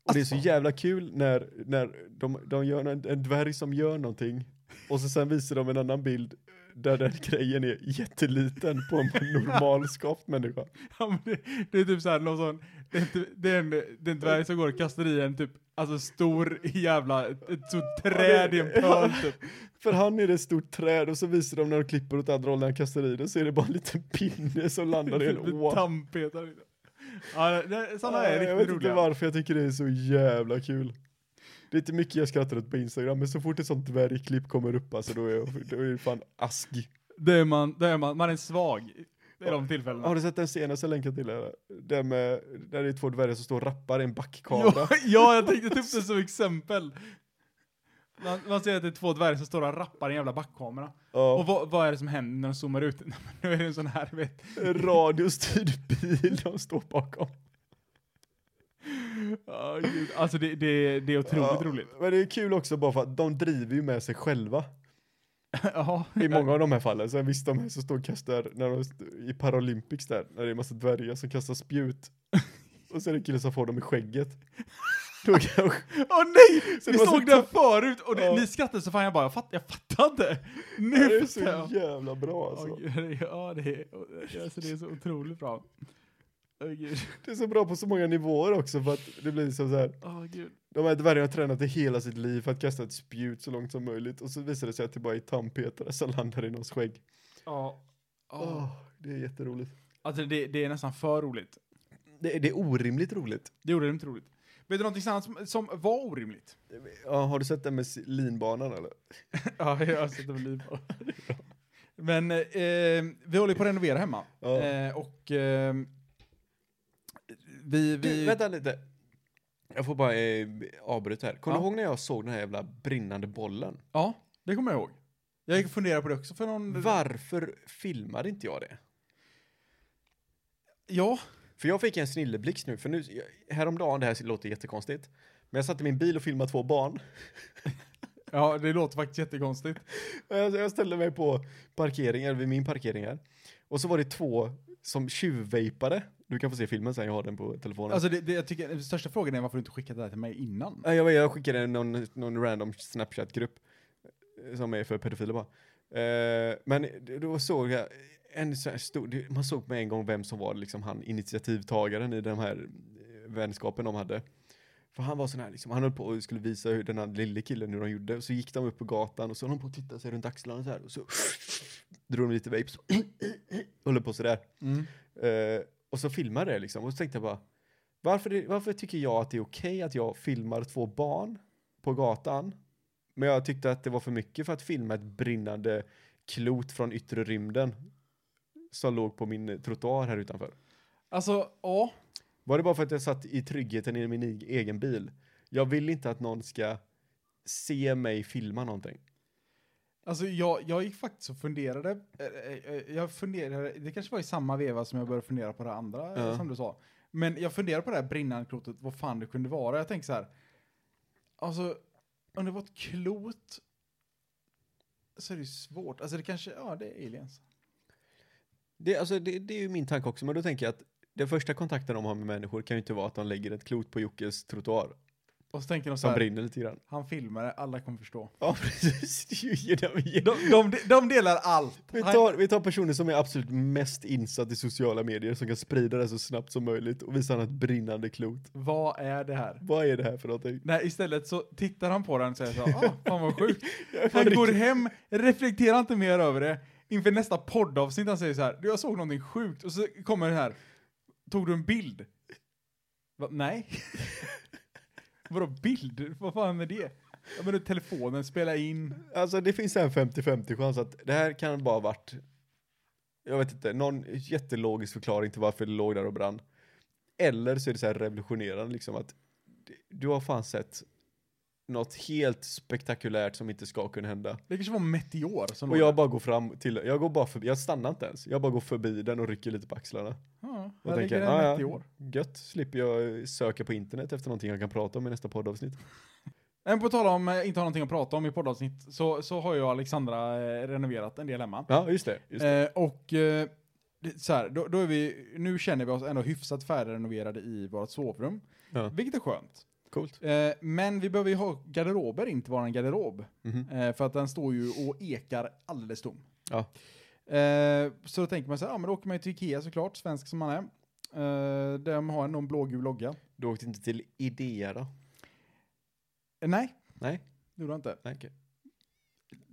[SPEAKER 3] Och det är så jävla kul när, när de, de gör en, en dvärg som gör någonting och så sen visar de en annan bild där den grejen är jätteliten på en normal skaft människa.
[SPEAKER 4] Ja, men det, det är typ såhär någon sån, det är, inte, det är en, det är en dvärg som går och kastar i en typ, alltså stor jävla, ett, ett stort träd i en pöl typ.
[SPEAKER 3] För han är det ett stort träd och så visar de när de klipper åt andra hållet när han kastar i det så är det bara en liten pinne som landar i en å.
[SPEAKER 4] Typ Tandpetare. liksom. Ja, det, sådana är
[SPEAKER 3] jag
[SPEAKER 4] riktigt
[SPEAKER 3] vet
[SPEAKER 4] roliga.
[SPEAKER 3] inte varför jag tycker det är så jävla kul. Det är inte mycket jag skrattar åt på Instagram, men så fort ett sånt dvärgklipp kommer upp alltså då är jag då är det fan askig.
[SPEAKER 4] Det är man, det är man, man är svag i de tillfällena.
[SPEAKER 3] Har du sett den senaste länken till det? Där, med, där det är två dvärgar som står och rappar i en backkamera.
[SPEAKER 4] ja, ja, jag tänkte ta upp det som exempel. Man, man ser att det är två dvärgar som står och rappar i en jävla backkamera.
[SPEAKER 3] Ja.
[SPEAKER 4] Och vad, vad är det som händer när de zoomar ut? <laughs> Nej, men Nu är det en sån här, du vet.
[SPEAKER 3] En radiostyrd bil de står bakom.
[SPEAKER 4] Ja, gud. Alltså det, det, det är otroligt
[SPEAKER 3] Ja.
[SPEAKER 4] roligt. <laughs>
[SPEAKER 3] Men det är kul också bara för att de driver ju med sig själva.
[SPEAKER 4] Ja.
[SPEAKER 3] I många av de här fallen. Sen visst de här som står och kastar när de, st- i Paralympics där, när det är en massa dvärgar som kastar spjut. Och sen är det en kille som får dem i skägget.
[SPEAKER 4] <laughs>
[SPEAKER 3] Då kanske...
[SPEAKER 4] Åh nej!
[SPEAKER 3] Så
[SPEAKER 4] vi
[SPEAKER 3] det var så
[SPEAKER 4] såg den förut och det,
[SPEAKER 3] Ja.
[SPEAKER 4] ni skrattade så fan jag bara, jag, fatt, jag fattar inte. Nu
[SPEAKER 3] Det är så
[SPEAKER 4] fattar jag.
[SPEAKER 3] jävla bra
[SPEAKER 4] Åh,
[SPEAKER 3] alltså.
[SPEAKER 4] gud, ja, det är, alltså, det är så otroligt bra. Åh gud.
[SPEAKER 3] Det är så bra på så många nivåer också för att det blir som så här.
[SPEAKER 4] Åh gud.
[SPEAKER 3] De här dvärgarna har tränat i hela sitt liv för att kasta ett spjut så långt som möjligt. Och så visar det sig att det bara är tandpetare som landar i någons skägg.
[SPEAKER 4] Ja.
[SPEAKER 3] Åh,
[SPEAKER 4] Ja.
[SPEAKER 3] det är jätteroligt.
[SPEAKER 4] Alltså det, det är nästan för roligt.
[SPEAKER 3] Det, det är orimligt roligt.
[SPEAKER 4] Det gjorde det inte roligt. Vet du någonting annat som, som var orimligt?
[SPEAKER 3] Ja, har du sett den med s- linbanan eller?
[SPEAKER 4] Ja, jag har sett det liv på. Men eh, vi håller ju på att renovera hemma.
[SPEAKER 3] Ja.
[SPEAKER 4] Eh, och eh, vi... vi
[SPEAKER 3] Du, vänta lite. Jag får bara eh, avbryta här. Kommer
[SPEAKER 4] Ja.
[SPEAKER 3] du ihåg när jag såg den här jävla brinnande bollen?
[SPEAKER 4] Ja, det kommer jag ihåg. Jag gick och funderade på det också för någon...
[SPEAKER 3] Varför filmade inte jag det?
[SPEAKER 4] Ja.
[SPEAKER 3] För jag fick en snilleblixt nu, för nu, häromdagen, det här låter jättekonstigt, men jag satt i min bil och filmade två barn. <laughs>
[SPEAKER 4] Ja, det låter faktiskt jättekonstigt.
[SPEAKER 3] Och Jag, jag ställde mig på parkeringen, vid min parkering här. Och så var det två som tjuvvejpade. Du kan få se filmen sen, jag har den på telefonen.
[SPEAKER 4] Alltså det, det, jag tycker, den största frågan är varför du inte skickat det här till mig innan.
[SPEAKER 3] Nej, Jag, jag skickade någon, någon random Snapchat-grupp eh, som är för pedofiler bara. Eh, men d- då såg jag en sån här stor, det- man såg med en gång vem som var liksom han initiativtagaren i den här eh, vänskapen de hade. För han var sån här liksom, han höll på och skulle visa hur den här lille killen hur de gjorde. Och så gick de upp på gatan och så höll de på att titta sig runt axlarna så här. Och så <sniffs> drog de lite <sniffs> vapes. Håller på sådär.
[SPEAKER 4] Mm.
[SPEAKER 3] Eh, och så filmade jag liksom. Och så tänkte jag bara, varför, det, varför tycker jag att det är okej att jag filmar två barn på gatan? Men jag tyckte att det var för mycket för att filma ett brinnande klot från yttre rymden som låg på min trottoar här utanför.
[SPEAKER 4] Alltså, ja.
[SPEAKER 3] Var det bara för att jag satt i tryggheten i min e- egen bil? Jag vill inte att någon ska se mig filma någonting.
[SPEAKER 4] Alltså jag, jag gick faktiskt och funderade, eh, eh, eh, jag funderade, det kanske var i samma veva som jag började fundera på det andra eh,
[SPEAKER 3] Ja.
[SPEAKER 4] som du sa. Men jag funderade på det här brinnande klotet, vad fan det kunde vara. Jag tänkte så här, alltså om det var ett klot så är det ju svårt. Alltså det kanske, ja det är aliens.
[SPEAKER 3] Det, alltså, det, det är ju min tanke också, men då tänker jag att den första kontakten de har med människor kan ju inte vara att de lägger ett klot på Jockes trottoar
[SPEAKER 4] Och så tänker de så
[SPEAKER 3] som
[SPEAKER 4] här,
[SPEAKER 3] brinner lite grann.
[SPEAKER 4] han filmade, alla kommer förstå.
[SPEAKER 3] <laughs> Ja, precis. Det är ju genom-
[SPEAKER 4] De,
[SPEAKER 3] genom-
[SPEAKER 4] de, de delar allt.
[SPEAKER 3] Vi
[SPEAKER 4] Han-
[SPEAKER 3] tar, vi tar personer som är absolut mest insatt i sociala medier som kan sprida det så snabbt som möjligt och visa han ett brinnande klot.
[SPEAKER 4] Vad är det här?
[SPEAKER 3] Vad är det här för någonting?
[SPEAKER 4] Nej, istället så tittar han på den och säger så här, ah, fan vad
[SPEAKER 3] <laughs>
[SPEAKER 4] sjukt.
[SPEAKER 3] Jag är fan
[SPEAKER 4] Han
[SPEAKER 3] riktigt-
[SPEAKER 4] går hem, reflekterar inte mer över det. Inför nästa poddavsnitt han säger så här, du jag såg någonting sjukt. Och så kommer den här, tog du en bild? Va, nej. <laughs> Vadå bild? Vad fan är det? Ja men det är telefonen, spela in.
[SPEAKER 3] Alltså det finns en 50-50 chans att det här kan bara ha varit, jag vet inte, någon jättelogisk förklaring till varför det låg där och brann. Eller så är det så här revolutionerande liksom att d- du har fan sett något helt spektakulärt som inte ska kunna hända.
[SPEAKER 4] Det kanske var en meteor som
[SPEAKER 3] Och
[SPEAKER 4] låg
[SPEAKER 3] jag bara går fram till, jag går bara förbi, jag stannar inte ens. Jag bara går förbi den och rycker lite på axlarna.
[SPEAKER 4] där. Ja. Ja, här
[SPEAKER 3] tänker
[SPEAKER 4] ligger
[SPEAKER 3] jag,
[SPEAKER 4] en
[SPEAKER 3] ja, ja.
[SPEAKER 4] meteor. år.
[SPEAKER 3] Gött, slipper jag söka på internet efter någonting jag kan prata om i nästa poddavsnitt.
[SPEAKER 4] Men på tal om eh, inte ha någonting att prata om i poddavsnitt så, så har jag och Alexandra eh, renoverat en del hemma.
[SPEAKER 3] Ja, just det. Just det.
[SPEAKER 4] Eh, och eh, det- så här, då, då är vi, nu känner vi oss ändå hyfsat färdigrenoverade i vårt sovrum.
[SPEAKER 3] Ja.
[SPEAKER 4] Vilket är skönt.
[SPEAKER 3] Coolt.
[SPEAKER 4] Eh, men vi behöver ju ha garderober in till våran garderob.
[SPEAKER 3] Mhm.
[SPEAKER 4] Eh, för att den står ju och ekar alldeles tom.
[SPEAKER 3] Ja.
[SPEAKER 4] Eh, så då tänker man så här, ja men då åker man ju till Ikea såklart, svensk som man är. Eh, de har någon blågul logga.
[SPEAKER 3] Du åkte inte till Idea då?
[SPEAKER 4] Eh, nej,
[SPEAKER 3] Nej,
[SPEAKER 4] det gjorde jag inte.
[SPEAKER 3] nej okej.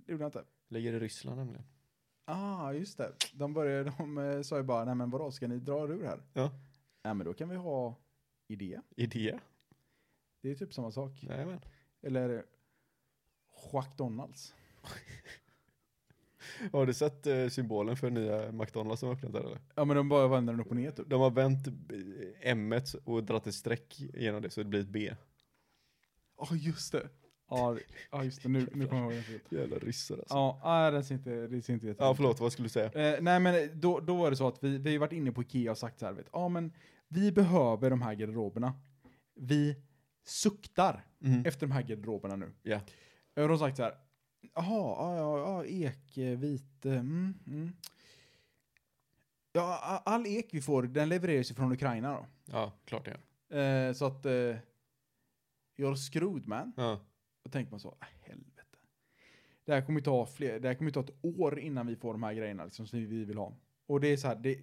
[SPEAKER 4] Det gjorde jag inte.
[SPEAKER 3] Ligger i Ryssland nämligen.
[SPEAKER 4] Ah, just det. De, började, de eh, sa ju bara, nej men vadå, ska ni dra er ur här?
[SPEAKER 3] Ja.
[SPEAKER 4] Nej men då kan vi ha idé.
[SPEAKER 3] Idea?
[SPEAKER 4] Det är typ samma sak.
[SPEAKER 3] Nej, men.
[SPEAKER 4] Eller Jack Donalds.
[SPEAKER 3] Har du sett eh, symbolen för nya McDonalds som har öppnat där eller?
[SPEAKER 4] Ja men de bara vänder den upp och ner typ.
[SPEAKER 3] De har vänt M och dratt ett streck genom det så det blir ett B.
[SPEAKER 4] Ja just det. Ja det- ja, just det, nu, nu kommer jag ihåg det.
[SPEAKER 3] Jävla ryssar alltså.
[SPEAKER 4] Ja, nej, det ser inte, det ser inte jättebra
[SPEAKER 3] Ja,
[SPEAKER 4] ut.
[SPEAKER 3] förlåt, vad skulle du säga?
[SPEAKER 4] Eh, nej men då, då var det så att vi, vi har varit inne på Ikea och sagt så här, vet, ja men vi behöver de här garderoberna. Vi suktar
[SPEAKER 3] Mm.
[SPEAKER 4] efter de här garderoberna nu. Eh,
[SPEAKER 3] Ja.
[SPEAKER 4] Och de har sagt så här, jaha, ja, ja, ja, ek, eh, vit, eh, mm, mm. Ja, a- all ek vi får, den levereras ju från Ukraina då.
[SPEAKER 3] Ja, klart det.
[SPEAKER 4] Eh, så att, eh, you're screwed man.
[SPEAKER 3] Ja.
[SPEAKER 4] Då tänker man så, "Ah, helvete. Det här kommer ju ta, fler, det här kommer ju ta ett år innan vi får de här grejerna liksom, som vi vill ha. Och det är så här, det,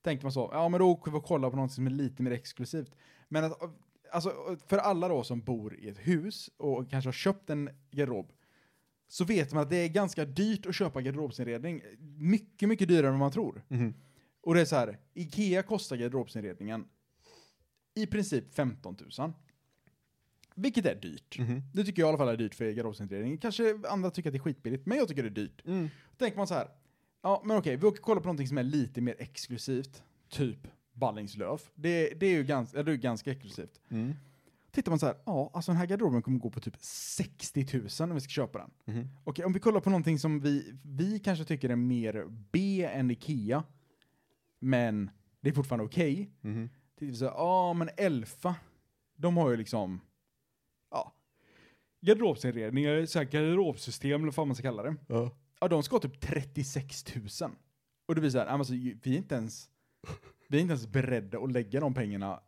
[SPEAKER 4] tänker man så, ja men då åker vi och kollar på något som är lite mer exklusivt. Men att, alltså, för alla då som bor i ett hus och kanske har köpt en garderob, så vet man att det är ganska dyrt att köpa garderobsinredning. Mycket, mycket dyrare än vad man tror.
[SPEAKER 3] Mhm.
[SPEAKER 4] Och det är så här, Ikea kostar garderobsinredningen i princip 15 000. Vilket är dyrt.
[SPEAKER 3] Mhm.
[SPEAKER 4] Det tycker jag i alla fall är dyrt för garderobsinredning. Kanske andra tycker att det är skitbilligt, men jag tycker det är dyrt.
[SPEAKER 3] Mm.
[SPEAKER 4] Då tänker man så här, ja men okej, vi åker och kollar på någonting som är lite mer exklusivt. Typ Ballingslöv. Det, det är ju ganska, eller det är ju ganska exklusivt.
[SPEAKER 3] Mm.
[SPEAKER 4] Tittar man så här, ja alltså den här garderoben kommer gå på typ 60 000 om vi ska köpa den.
[SPEAKER 3] Mhm.
[SPEAKER 4] Okej, om vi kollar på någonting som vi, vi kanske tycker är mer B än Ikea, men det är fortfarande okej.
[SPEAKER 3] Mhm.
[SPEAKER 4] Tittar vi så här, ja men Elfa, de har ju liksom, ja, garderobsinredning, eller så här garderobsystem eller vad fan man ska kalla det.
[SPEAKER 3] Ja.
[SPEAKER 4] Ja, de ska ha typ 36 000. Och det blir så här, ja, men alltså, ju- vi är inte ens, vi är inte ens beredda att lägga de pengarna.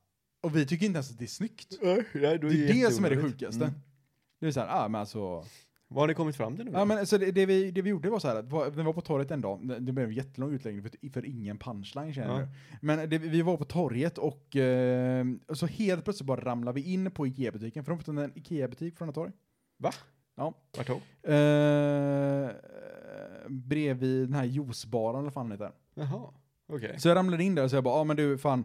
[SPEAKER 4] Och vi tycker inte ens att det är snyggt.
[SPEAKER 3] Nej, då
[SPEAKER 4] Det är
[SPEAKER 3] är
[SPEAKER 4] det som är det
[SPEAKER 3] jätteonödigt.
[SPEAKER 4] sjukaste.
[SPEAKER 3] Mm.
[SPEAKER 4] Det är så här, ja men alltså,
[SPEAKER 3] Vad har ni kommit fram till nu? då?
[SPEAKER 4] Ja, men så det, det, vi, det vi gjorde var så här, att var- vi var på torget en dag, det blev en jättelång utläggning för, för ingen punchline känner jag
[SPEAKER 3] Ja.
[SPEAKER 4] nu. Men det, vi var på torget och eh, och så helt plötsligt bara ramlade vi in på Ikea-butiken, för de har fått en Ikea-butik från ett torg.
[SPEAKER 3] Va?
[SPEAKER 4] Ja.
[SPEAKER 3] Vart då?
[SPEAKER 4] Eh, bredvid den här juicebaren eller vad fan det heter.
[SPEAKER 3] Jaha, okej.
[SPEAKER 4] Så jag ramlade in där och så jag bara, ja ah, men du fan,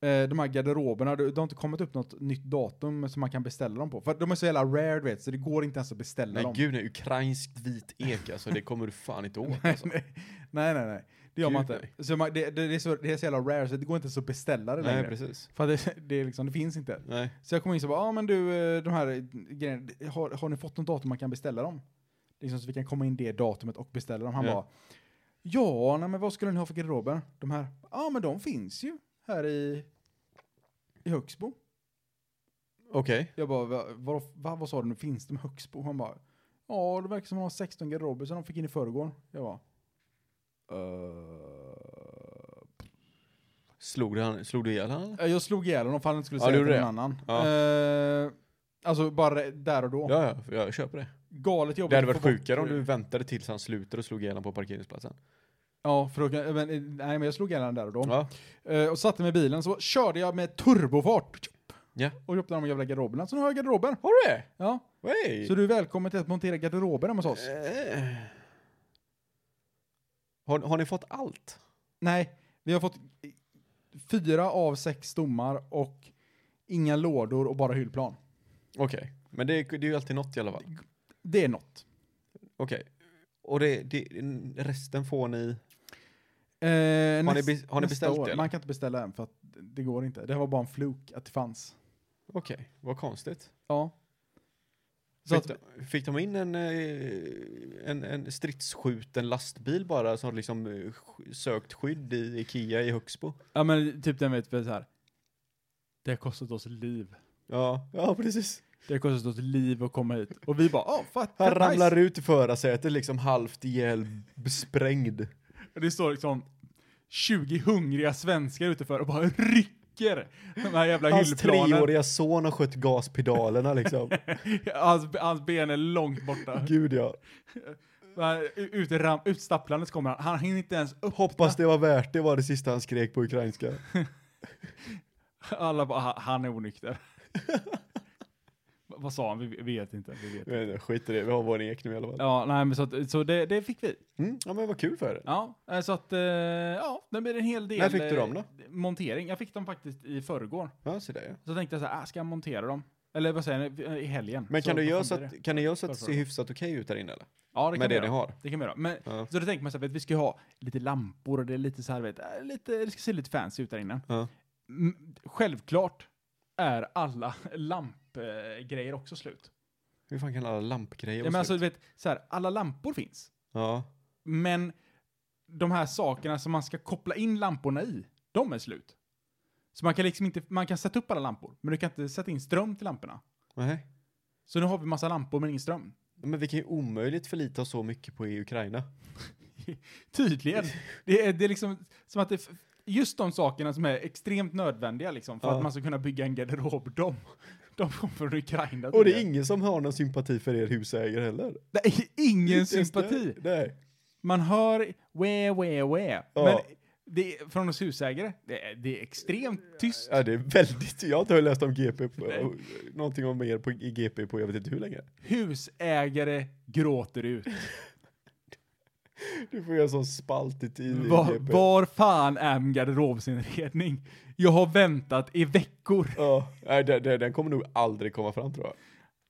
[SPEAKER 4] eh, de här garderoberna, det det har inte kommit upp något nytt datum som man kan beställa dem på. För de är så jävla rare du vet, så det går inte ens att beställa
[SPEAKER 3] Nej
[SPEAKER 4] dem.
[SPEAKER 3] gud, nej, ukrainskt vit ek alltså, det kommer du fan inte <laughs> åt
[SPEAKER 4] Nej,
[SPEAKER 3] alltså.
[SPEAKER 4] nej, nej, nej, nej. Det gör man
[SPEAKER 3] Gud,
[SPEAKER 4] inte. Så man, det, det, det, är så, det är så jävla rare så det går inte ens att beställa det
[SPEAKER 3] Nej,
[SPEAKER 4] längre.
[SPEAKER 3] precis.
[SPEAKER 4] För att det, det, är liksom, det finns inte.
[SPEAKER 3] Nej.
[SPEAKER 4] Så jag kom in och bara, ja ah, men du, eh, de här grejerna, har, har ni fått något datum man kan beställa dem? Liksom så vi kan komma in det datumet och beställa dem. Han
[SPEAKER 3] Ja.
[SPEAKER 4] bara, ja, nej, men vad skulle ni ha för garderober? De här, ja ah, men de finns ju här i, i Högsbo.
[SPEAKER 3] Okej.
[SPEAKER 4] Jag bara, va, vad, vad, vad sa du nu, finns de i Högsbo? Han bara, ja det verkar som att de har 16 garderober som de fick in i förrgår. Jag bara, "Eh,
[SPEAKER 3] Slog, du han- slog du ihjäl honom? eller?
[SPEAKER 4] Ja, Eh, Jag slog ihjäl honom för han inte skulle
[SPEAKER 3] Ja,
[SPEAKER 4] säga
[SPEAKER 3] du
[SPEAKER 4] till någon
[SPEAKER 3] gjorde
[SPEAKER 4] annan.
[SPEAKER 3] Ja.
[SPEAKER 4] Eh, alltså bara där och då.
[SPEAKER 3] Ja, ja, jag köper det.
[SPEAKER 4] Galet jobbigt.
[SPEAKER 3] Det hade varit
[SPEAKER 4] att få bort-
[SPEAKER 3] sjukare om du väntade tills han slutade och slog ihjäl honom på parkeringsplatsen.
[SPEAKER 4] Ja, för då, kan- men, eh, nej men jag slog ihjäl honom där och då.
[SPEAKER 3] Ja.
[SPEAKER 4] Eh, och satte mig i bilen så körde jag med turbofart.
[SPEAKER 3] Ja.
[SPEAKER 4] Och köpte de jävla garderoberna. Så nu har jag garderober.
[SPEAKER 3] Har du det?
[SPEAKER 4] Ja.
[SPEAKER 3] Wey.
[SPEAKER 4] Så du är välkommen till att montera garderober hemma hos oss.
[SPEAKER 3] Eh. Har, har ni fått allt?
[SPEAKER 4] Nej, vi har fått eh, fyra av sex stommar och inga lådor och bara hyllplan.
[SPEAKER 3] Okej, men det, är- det är ju alltid något i alla fall.
[SPEAKER 4] Det är något.
[SPEAKER 3] Okej. Och det, det, resten får ni...
[SPEAKER 4] Eh,
[SPEAKER 3] Har ni,
[SPEAKER 4] näst-
[SPEAKER 3] be, har ni
[SPEAKER 4] nästa
[SPEAKER 3] beställt
[SPEAKER 4] år.
[SPEAKER 3] det? eller?
[SPEAKER 4] Man kan inte beställa än för att det går inte. Det var bara en fluk att det fanns.
[SPEAKER 3] Okej, vad konstigt.
[SPEAKER 4] Ja. Så
[SPEAKER 3] Fick,
[SPEAKER 4] att,
[SPEAKER 3] de, fick de in en, eh, en, en stridsskjuten lastbil bara som liksom eh, sk- sökt skydd i Ikea i Högsbo?
[SPEAKER 4] ja men typ den vet väl så här.
[SPEAKER 1] Det har kostat oss liv.
[SPEAKER 3] Ja, ja precis.
[SPEAKER 4] Det har kostat oss liv att komma hit. Och vi bara, åh, fat,
[SPEAKER 3] Han
[SPEAKER 4] fat
[SPEAKER 3] ramlar
[SPEAKER 4] nice.
[SPEAKER 3] ut i förarsätet liksom halvt ihjäl, sprängd.
[SPEAKER 4] Och Det står liksom 20 hungriga svenskar utanför och bara rycker de här jävla
[SPEAKER 3] Hans
[SPEAKER 4] hyllplanen.
[SPEAKER 3] treåriga son har skött gaspedalerna <laughs> liksom.
[SPEAKER 4] Hans, hans ben är långt borta.
[SPEAKER 3] Gud ja.
[SPEAKER 4] Men Ut, i ram, utstapplandes kommer han. Han hinner inte ens upp.
[SPEAKER 3] Hoppas det var värt det var det sista han skrek på ukrainska.
[SPEAKER 4] Alla bara, "Ha- han är
[SPEAKER 3] <laughs>
[SPEAKER 4] onykter. Vad vad sa han? Vi vet inte. Vi vet. inte.
[SPEAKER 3] Men skit i det, vi har vår ek nu i alla fall.
[SPEAKER 4] Ja, nej, men så, att, så det, det fick vi.
[SPEAKER 3] Mm, ja men vad kul för er.
[SPEAKER 4] Ja, eh, så att, eh, ja, det blir en hel del.
[SPEAKER 3] När fick du
[SPEAKER 4] eh,
[SPEAKER 3] dem då?
[SPEAKER 4] Montering. Jag fick dem faktiskt i förrgår.
[SPEAKER 3] Ja, så där, ja.
[SPEAKER 4] Så tänkte jag så här, ah, ska jag montera dem? Eller vad säger ni? eh, I helgen.
[SPEAKER 3] Men kan
[SPEAKER 4] så
[SPEAKER 3] du göra
[SPEAKER 4] vad
[SPEAKER 3] så
[SPEAKER 4] fan blir
[SPEAKER 3] att, kan du göra så att det
[SPEAKER 4] Varför
[SPEAKER 3] ser
[SPEAKER 4] då?
[SPEAKER 3] hyfsat okej ut där inne eller?
[SPEAKER 4] Ja, det kan vi
[SPEAKER 3] Med det
[SPEAKER 4] göra.
[SPEAKER 3] ni har?
[SPEAKER 4] Det kan vi göra. Men,
[SPEAKER 3] Ja.
[SPEAKER 4] Så då tänker man så här, vet, vi ska ju ha lite lampor och det är lite så här, vet, äh, lite, det ska se lite fancy ut där inne.
[SPEAKER 3] Ja.
[SPEAKER 4] Mm, Självklart är alla <laughs> lampgrejer också slut.
[SPEAKER 3] Hur fan kan alla lampgrejer
[SPEAKER 4] Ja,
[SPEAKER 3] vara
[SPEAKER 4] men alltså,
[SPEAKER 3] slut?
[SPEAKER 4] du vet, så här, alla lampor finns,
[SPEAKER 3] Ja.
[SPEAKER 4] men de här sakerna som man ska koppla in lamporna i, de är slut. Så man kan liksom inte, man kan sätta upp alla lampor, men du kan inte sätta in ström till lamporna.
[SPEAKER 3] Nej.
[SPEAKER 4] Så nu har vi massa lampor men ingen ström.
[SPEAKER 3] Men vi kan ju omöjligt förlita oss så mycket på i Ukraina.
[SPEAKER 4] Tydligen.
[SPEAKER 3] <laughs>
[SPEAKER 4] Det är, det är liksom som att det, f- just de sakerna som är extremt nödvändiga liksom för
[SPEAKER 3] Ja.
[SPEAKER 4] att man ska kunna bygga en garderob, de, de kommer från Ukraina.
[SPEAKER 3] Och det är
[SPEAKER 4] tydligen.
[SPEAKER 3] ingen som har någon sympati för er husägare heller.
[SPEAKER 4] det är ingen
[SPEAKER 3] Inte ens
[SPEAKER 4] sympati.
[SPEAKER 3] där. Nej.
[SPEAKER 4] Man hör we, we, we.
[SPEAKER 3] Ja.
[SPEAKER 4] Men det, är- från oss husägare, det är, det är extremt tyst.
[SPEAKER 3] Ja, det är väldigt, jag har inte läst om GP,
[SPEAKER 4] Nej.
[SPEAKER 3] på, någonting om er på, i GP på jag vet inte hur länge.
[SPEAKER 4] Husägare gråter ut.
[SPEAKER 3] Du får göra en sån spalt i tid i
[SPEAKER 4] Var,
[SPEAKER 3] GP.
[SPEAKER 4] var fan är min garderobsinredning? Jag har väntat i veckor.
[SPEAKER 3] Ja, nej, den, den, den kommer nog aldrig komma fram tror jag.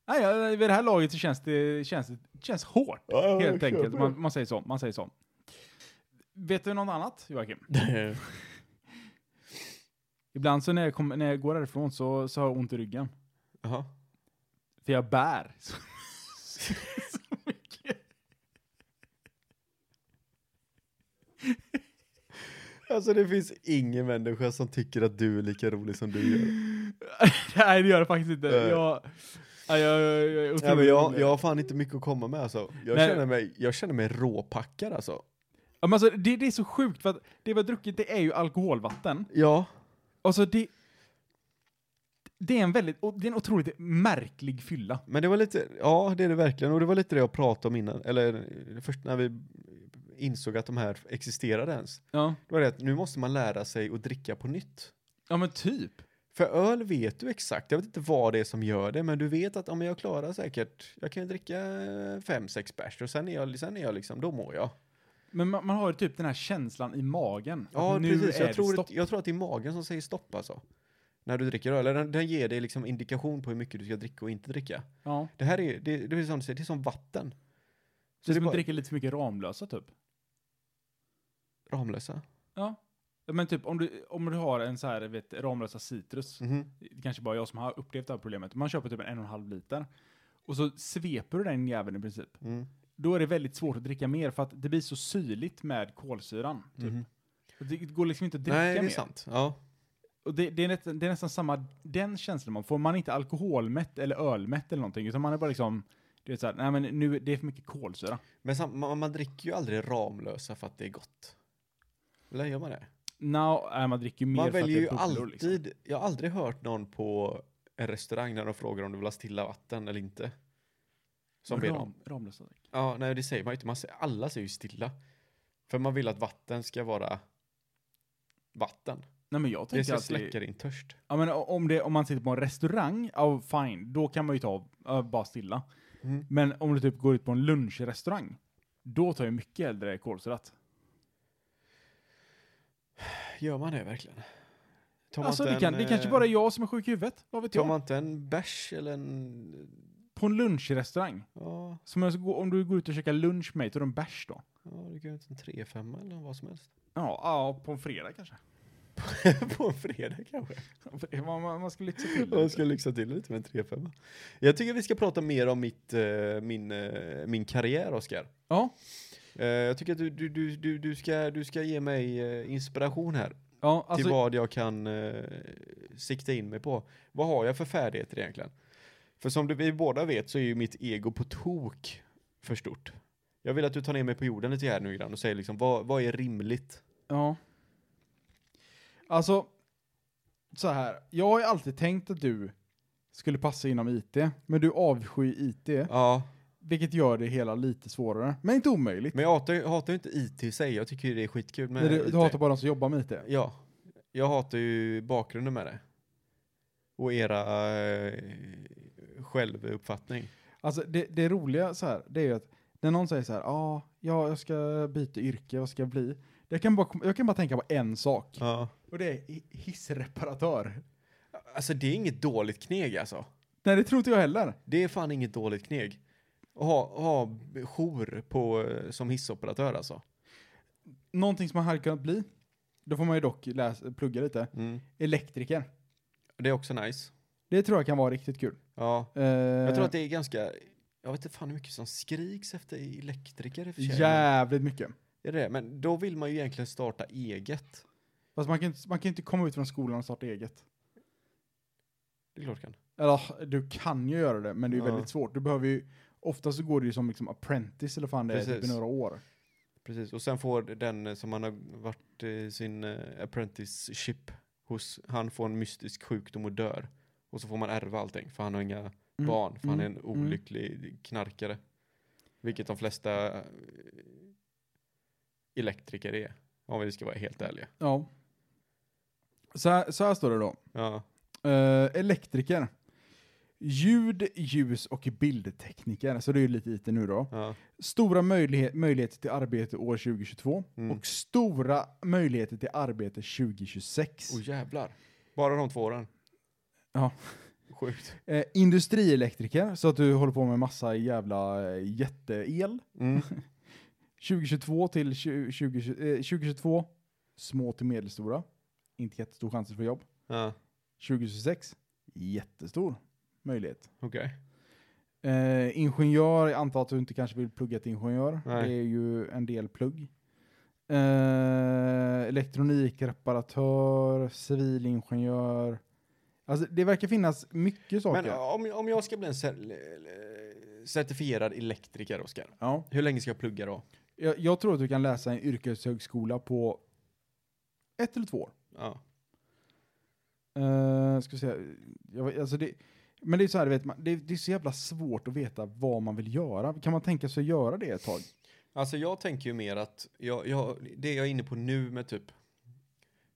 [SPEAKER 4] Nej, ja, vid det här laget så känns det känns, känns hårt.
[SPEAKER 3] Ja, jag
[SPEAKER 4] Helt
[SPEAKER 3] köper
[SPEAKER 4] enkelt.
[SPEAKER 3] det.
[SPEAKER 4] Man, man säger så. Man säger så. Vet du något annat, Joakim? Ibland så när jag, kom, när jag går härifrån så, så har jag ont i ryggen.
[SPEAKER 3] Jaha.
[SPEAKER 4] För jag bär <laughs> så, så, så mycket.
[SPEAKER 3] Alltså det finns ingen människa som tycker att du är lika rolig som du <laughs> gör.
[SPEAKER 4] <laughs> Nej, det gör det faktiskt inte.
[SPEAKER 3] Nej.
[SPEAKER 4] Jag, jag, jag, jag, jag är otroligt
[SPEAKER 3] Ja, men jag,
[SPEAKER 4] rolig.
[SPEAKER 3] jag har fan inte mycket att komma med alltså. Jag,
[SPEAKER 4] Nej.
[SPEAKER 3] känner mig, jag känner mig råpackad alltså.
[SPEAKER 4] Ja, men alltså, det, det är så sjukt för att det vi har druckit det är ju alkoholvatten.
[SPEAKER 3] Ja.
[SPEAKER 4] Alltså det... Det är en väldigt, och det är en otroligt märklig fylla.
[SPEAKER 3] Men det var lite, ja det är det verkligen. Och det var lite det jag pratade om innan, eller först när vi insåg att de här existerade ens.
[SPEAKER 4] Ja,
[SPEAKER 3] Det var det att nu måste man lära sig att dricka på nytt.
[SPEAKER 4] ja men typ.
[SPEAKER 3] För öl vet du exakt, jag vet inte vad det är som gör det, men du vet att om jag klarar säkert, jag kan ju dricka fem, sex bärs och sen är jag, sen är jag liksom, då mår jag.
[SPEAKER 4] Men man, man har ju typ den här känslan i magen.
[SPEAKER 3] Ja,
[SPEAKER 4] att nu
[SPEAKER 3] precis.
[SPEAKER 4] är
[SPEAKER 3] Jag
[SPEAKER 4] det
[SPEAKER 3] tror,
[SPEAKER 4] stopp.
[SPEAKER 3] att, jag tror att det är magen som säger stopp alltså. När du dricker öl. Eller Den, den ger dig liksom indikation på hur mycket du ska dricka och inte dricka.
[SPEAKER 4] Ja.
[SPEAKER 3] Det här är, det, det är, som, du säger, det är som vatten.
[SPEAKER 4] Så det är som
[SPEAKER 3] bara-
[SPEAKER 4] att dricka lite för mycket Ramlösa typ.
[SPEAKER 3] Ramlösa.
[SPEAKER 4] Ja, Men typ om du, om du har en så här, vet, Ramlösa citrus.
[SPEAKER 3] Mhm.
[SPEAKER 4] Det kanske bara jag som har upplevt det här problemet. Man köper typ en en och en halv liter. Och så sveper du den jäveln i princip.
[SPEAKER 3] Mm.
[SPEAKER 4] Då är det väldigt svårt att dricka mer för att det blir så syrligt med kolsyran. Typ.
[SPEAKER 3] Mhm.
[SPEAKER 4] Det går liksom inte att dricka
[SPEAKER 3] Nej, det är
[SPEAKER 4] mer.
[SPEAKER 3] sant. Ja.
[SPEAKER 4] Och det, det, är nästan, det är nästan samma, den känslan man får. Man är inte alkoholmätt eller ölmätt eller någonting. Utan man är bara liksom, det är så här, nej men nu, det är för mycket kolsyra.
[SPEAKER 3] Men sam, man, man dricker ju aldrig Ramlösa för att det är gott. Eller gör man det?
[SPEAKER 4] No, nej, äh, man dricker ju mer
[SPEAKER 3] Man
[SPEAKER 4] för att
[SPEAKER 3] väljer
[SPEAKER 4] det
[SPEAKER 3] ju
[SPEAKER 4] är bubblor,
[SPEAKER 3] alltid,
[SPEAKER 4] liksom.
[SPEAKER 3] jag har aldrig hört någon på en restaurang när de frågar om du vill ha stilla vatten eller inte. Som ber om.
[SPEAKER 4] Ram, Ramlösa däck.
[SPEAKER 3] Ja, nej det säger man ju inte. Man säger, alla säger ju stilla. För man vill att vatten ska vara vatten.
[SPEAKER 4] Nej men jag
[SPEAKER 3] Det
[SPEAKER 4] tänker
[SPEAKER 3] ska
[SPEAKER 4] alltid,
[SPEAKER 3] släcka din törst.
[SPEAKER 4] ja, men om, det, om man sitter på en restaurang, ja fine, då kan man ju ta ja, bara stilla.
[SPEAKER 3] Mm.
[SPEAKER 4] Men om du typ går ut på en lunchrestaurang, då tar jag mycket äldre kolsyrat.
[SPEAKER 3] Gör man det verkligen? Tar man
[SPEAKER 4] Alltså
[SPEAKER 3] inte
[SPEAKER 4] det, kan,
[SPEAKER 3] en,
[SPEAKER 4] det är kanske
[SPEAKER 3] eh,
[SPEAKER 4] bara är jag som är sjuk i huvudet, vad vet
[SPEAKER 3] Tar
[SPEAKER 4] jag?
[SPEAKER 3] man inte en bärs eller en...
[SPEAKER 4] På en lunchrestaurang,
[SPEAKER 3] Ja,
[SPEAKER 4] som jag ska gå, om du går ut och käkar lunch med mig, tar du en bärs då?
[SPEAKER 3] ja du kan ju ta en 3-5 eller vad som helst. <laughs>
[SPEAKER 4] Ja, ja, på en fredag kanske. <laughs>
[SPEAKER 3] på en fredag kanske.
[SPEAKER 4] Man, man, man ska lyxa till det
[SPEAKER 3] Jag
[SPEAKER 4] lite.
[SPEAKER 3] ska lyxa till lite med en 3-5. Jag tycker vi ska prata mer om mitt, eh, min, eh, min karriär, Oskar.
[SPEAKER 4] Ja,
[SPEAKER 3] Eh, Jag tycker att du, du, du, du, du, ska, du ska ge mig eh, inspiration här.
[SPEAKER 4] ja
[SPEAKER 3] till
[SPEAKER 4] alltså,
[SPEAKER 3] vad jag kan eh, sikta in mig på. Vad har jag för färdigheter egentligen? För som du, vi båda vet så är ju mitt ego på tok för stort. Jag vill att du tar ner mig på jorden lite här nu grann och säger liksom vad, vad är rimligt?
[SPEAKER 4] ja. Alltså, så här. Jag har ju alltid tänkt att du skulle passa inom IT, men du avskyr IT,
[SPEAKER 3] Ja,
[SPEAKER 4] vilket gör det hela lite svårare. Men inte omöjligt.
[SPEAKER 3] men jag hatar, ju- hatar ju inte IT i sig. Jag tycker ju det är skitkul med
[SPEAKER 4] Nej, du,
[SPEAKER 3] IT.
[SPEAKER 4] du hatar bara de som jobbar med IT.
[SPEAKER 3] Ja, jag hatar ju bakgrunden med det. Och era eh, självuppfattning.
[SPEAKER 4] Alltså det, det roliga så här, det är ju att när någon säger så här, ah, ja, jag ska byta yrke, vad ska jag bli? Jag kan bara, kom- jag kan bara tänka på en sak.
[SPEAKER 3] Ja.
[SPEAKER 4] Och det är hi- hissreparatör.
[SPEAKER 3] Alltså det är inget dåligt kneg alltså.
[SPEAKER 4] Nej, det tror inte jag heller.
[SPEAKER 3] Det är fan inget dåligt kneg. Att ha, ha jour på, eh, som hissoperatör alltså.
[SPEAKER 4] Någonting som man hade kunnat bli, då får man ju dock läsa, plugga lite, elektriker.
[SPEAKER 3] Det är också nice.
[SPEAKER 4] Det tror jag kan vara riktigt kul.
[SPEAKER 3] Ja.
[SPEAKER 4] Eh,
[SPEAKER 3] Jag tror att det är ganska, jag vet inte fan hur mycket som skriks efter elektriker i och för sig.
[SPEAKER 4] Jävligt mycket.
[SPEAKER 3] Är det det? Men då vill man ju egentligen starta eget.
[SPEAKER 4] Fast man kan, inte- man kan inte komma ut från skolan och starta eget.
[SPEAKER 3] Det är klart du kan.
[SPEAKER 4] Eller du kan ju göra det, men det är ju
[SPEAKER 3] Ja.
[SPEAKER 4] väldigt svårt. Du behöver ju, ofta så går det ju som liksom apprentice eller fan det är, typ i
[SPEAKER 3] Precis.
[SPEAKER 4] några år.
[SPEAKER 3] Precis. Och sen får den eh, som han har varit eh, sin eh, apprenticeship hos, han får en mystisk sjukdom och dör. Och så får man ärva allting för han har inga
[SPEAKER 4] Mm.
[SPEAKER 3] barn, för han är
[SPEAKER 4] Mm.
[SPEAKER 3] en olycklig knarkare. Vilket de flesta eh, elektriker är, om vi ska vara helt ärliga.
[SPEAKER 4] Ja. Så här, så här står det då.
[SPEAKER 3] Ja,
[SPEAKER 4] Eh, elektriker. Ljud, ljus och bildtekniker. Så det är ju lite IT nu då.
[SPEAKER 3] ja,
[SPEAKER 4] Stora möjlighet, möjligheter till arbete år 2022.
[SPEAKER 3] mm.
[SPEAKER 4] Och stora möjligheter till arbete 2026.
[SPEAKER 3] Och jävlar, bara de två åren.
[SPEAKER 4] Ja. <laughs>
[SPEAKER 3] Sjukt.
[SPEAKER 4] Eh, industrielektriker, så att du håller på med massa jävla eh, jätteel.
[SPEAKER 3] Mm.
[SPEAKER 4] 2022 till 20, 20, eh, 2022, små till medelstora. Inte jättestor chans att få jobb.
[SPEAKER 3] Ja,
[SPEAKER 4] 2026, jättestor möjlighet.
[SPEAKER 3] okej.
[SPEAKER 4] Eh, ingenjör, jag antar att du inte kanske vill plugga till ingenjör.
[SPEAKER 3] Nej.
[SPEAKER 4] Det är ju en del plugg. Eh, elektronikreparatör, civilingenjör. Alltså det verkar finnas mycket saker.
[SPEAKER 3] Men eh, om, om jag ska bli en cer- eh, certifierad elektriker, Oskar,
[SPEAKER 4] ja.
[SPEAKER 3] hur länge ska jag plugga då?
[SPEAKER 4] jag, jag tror att du kan läsa en yrkeshögskola på ett eller två år.
[SPEAKER 3] Ja.
[SPEAKER 4] Eh, ska vi säga, jag, vet- alltså det, men det är så här, du vet, man, det, det är så jävla svårt att veta vad man vill göra. Kan man tänka sig att göra det ett tag?
[SPEAKER 3] Alltså jag tänker ju mer att jag, jag, det jag är inne på nu med typ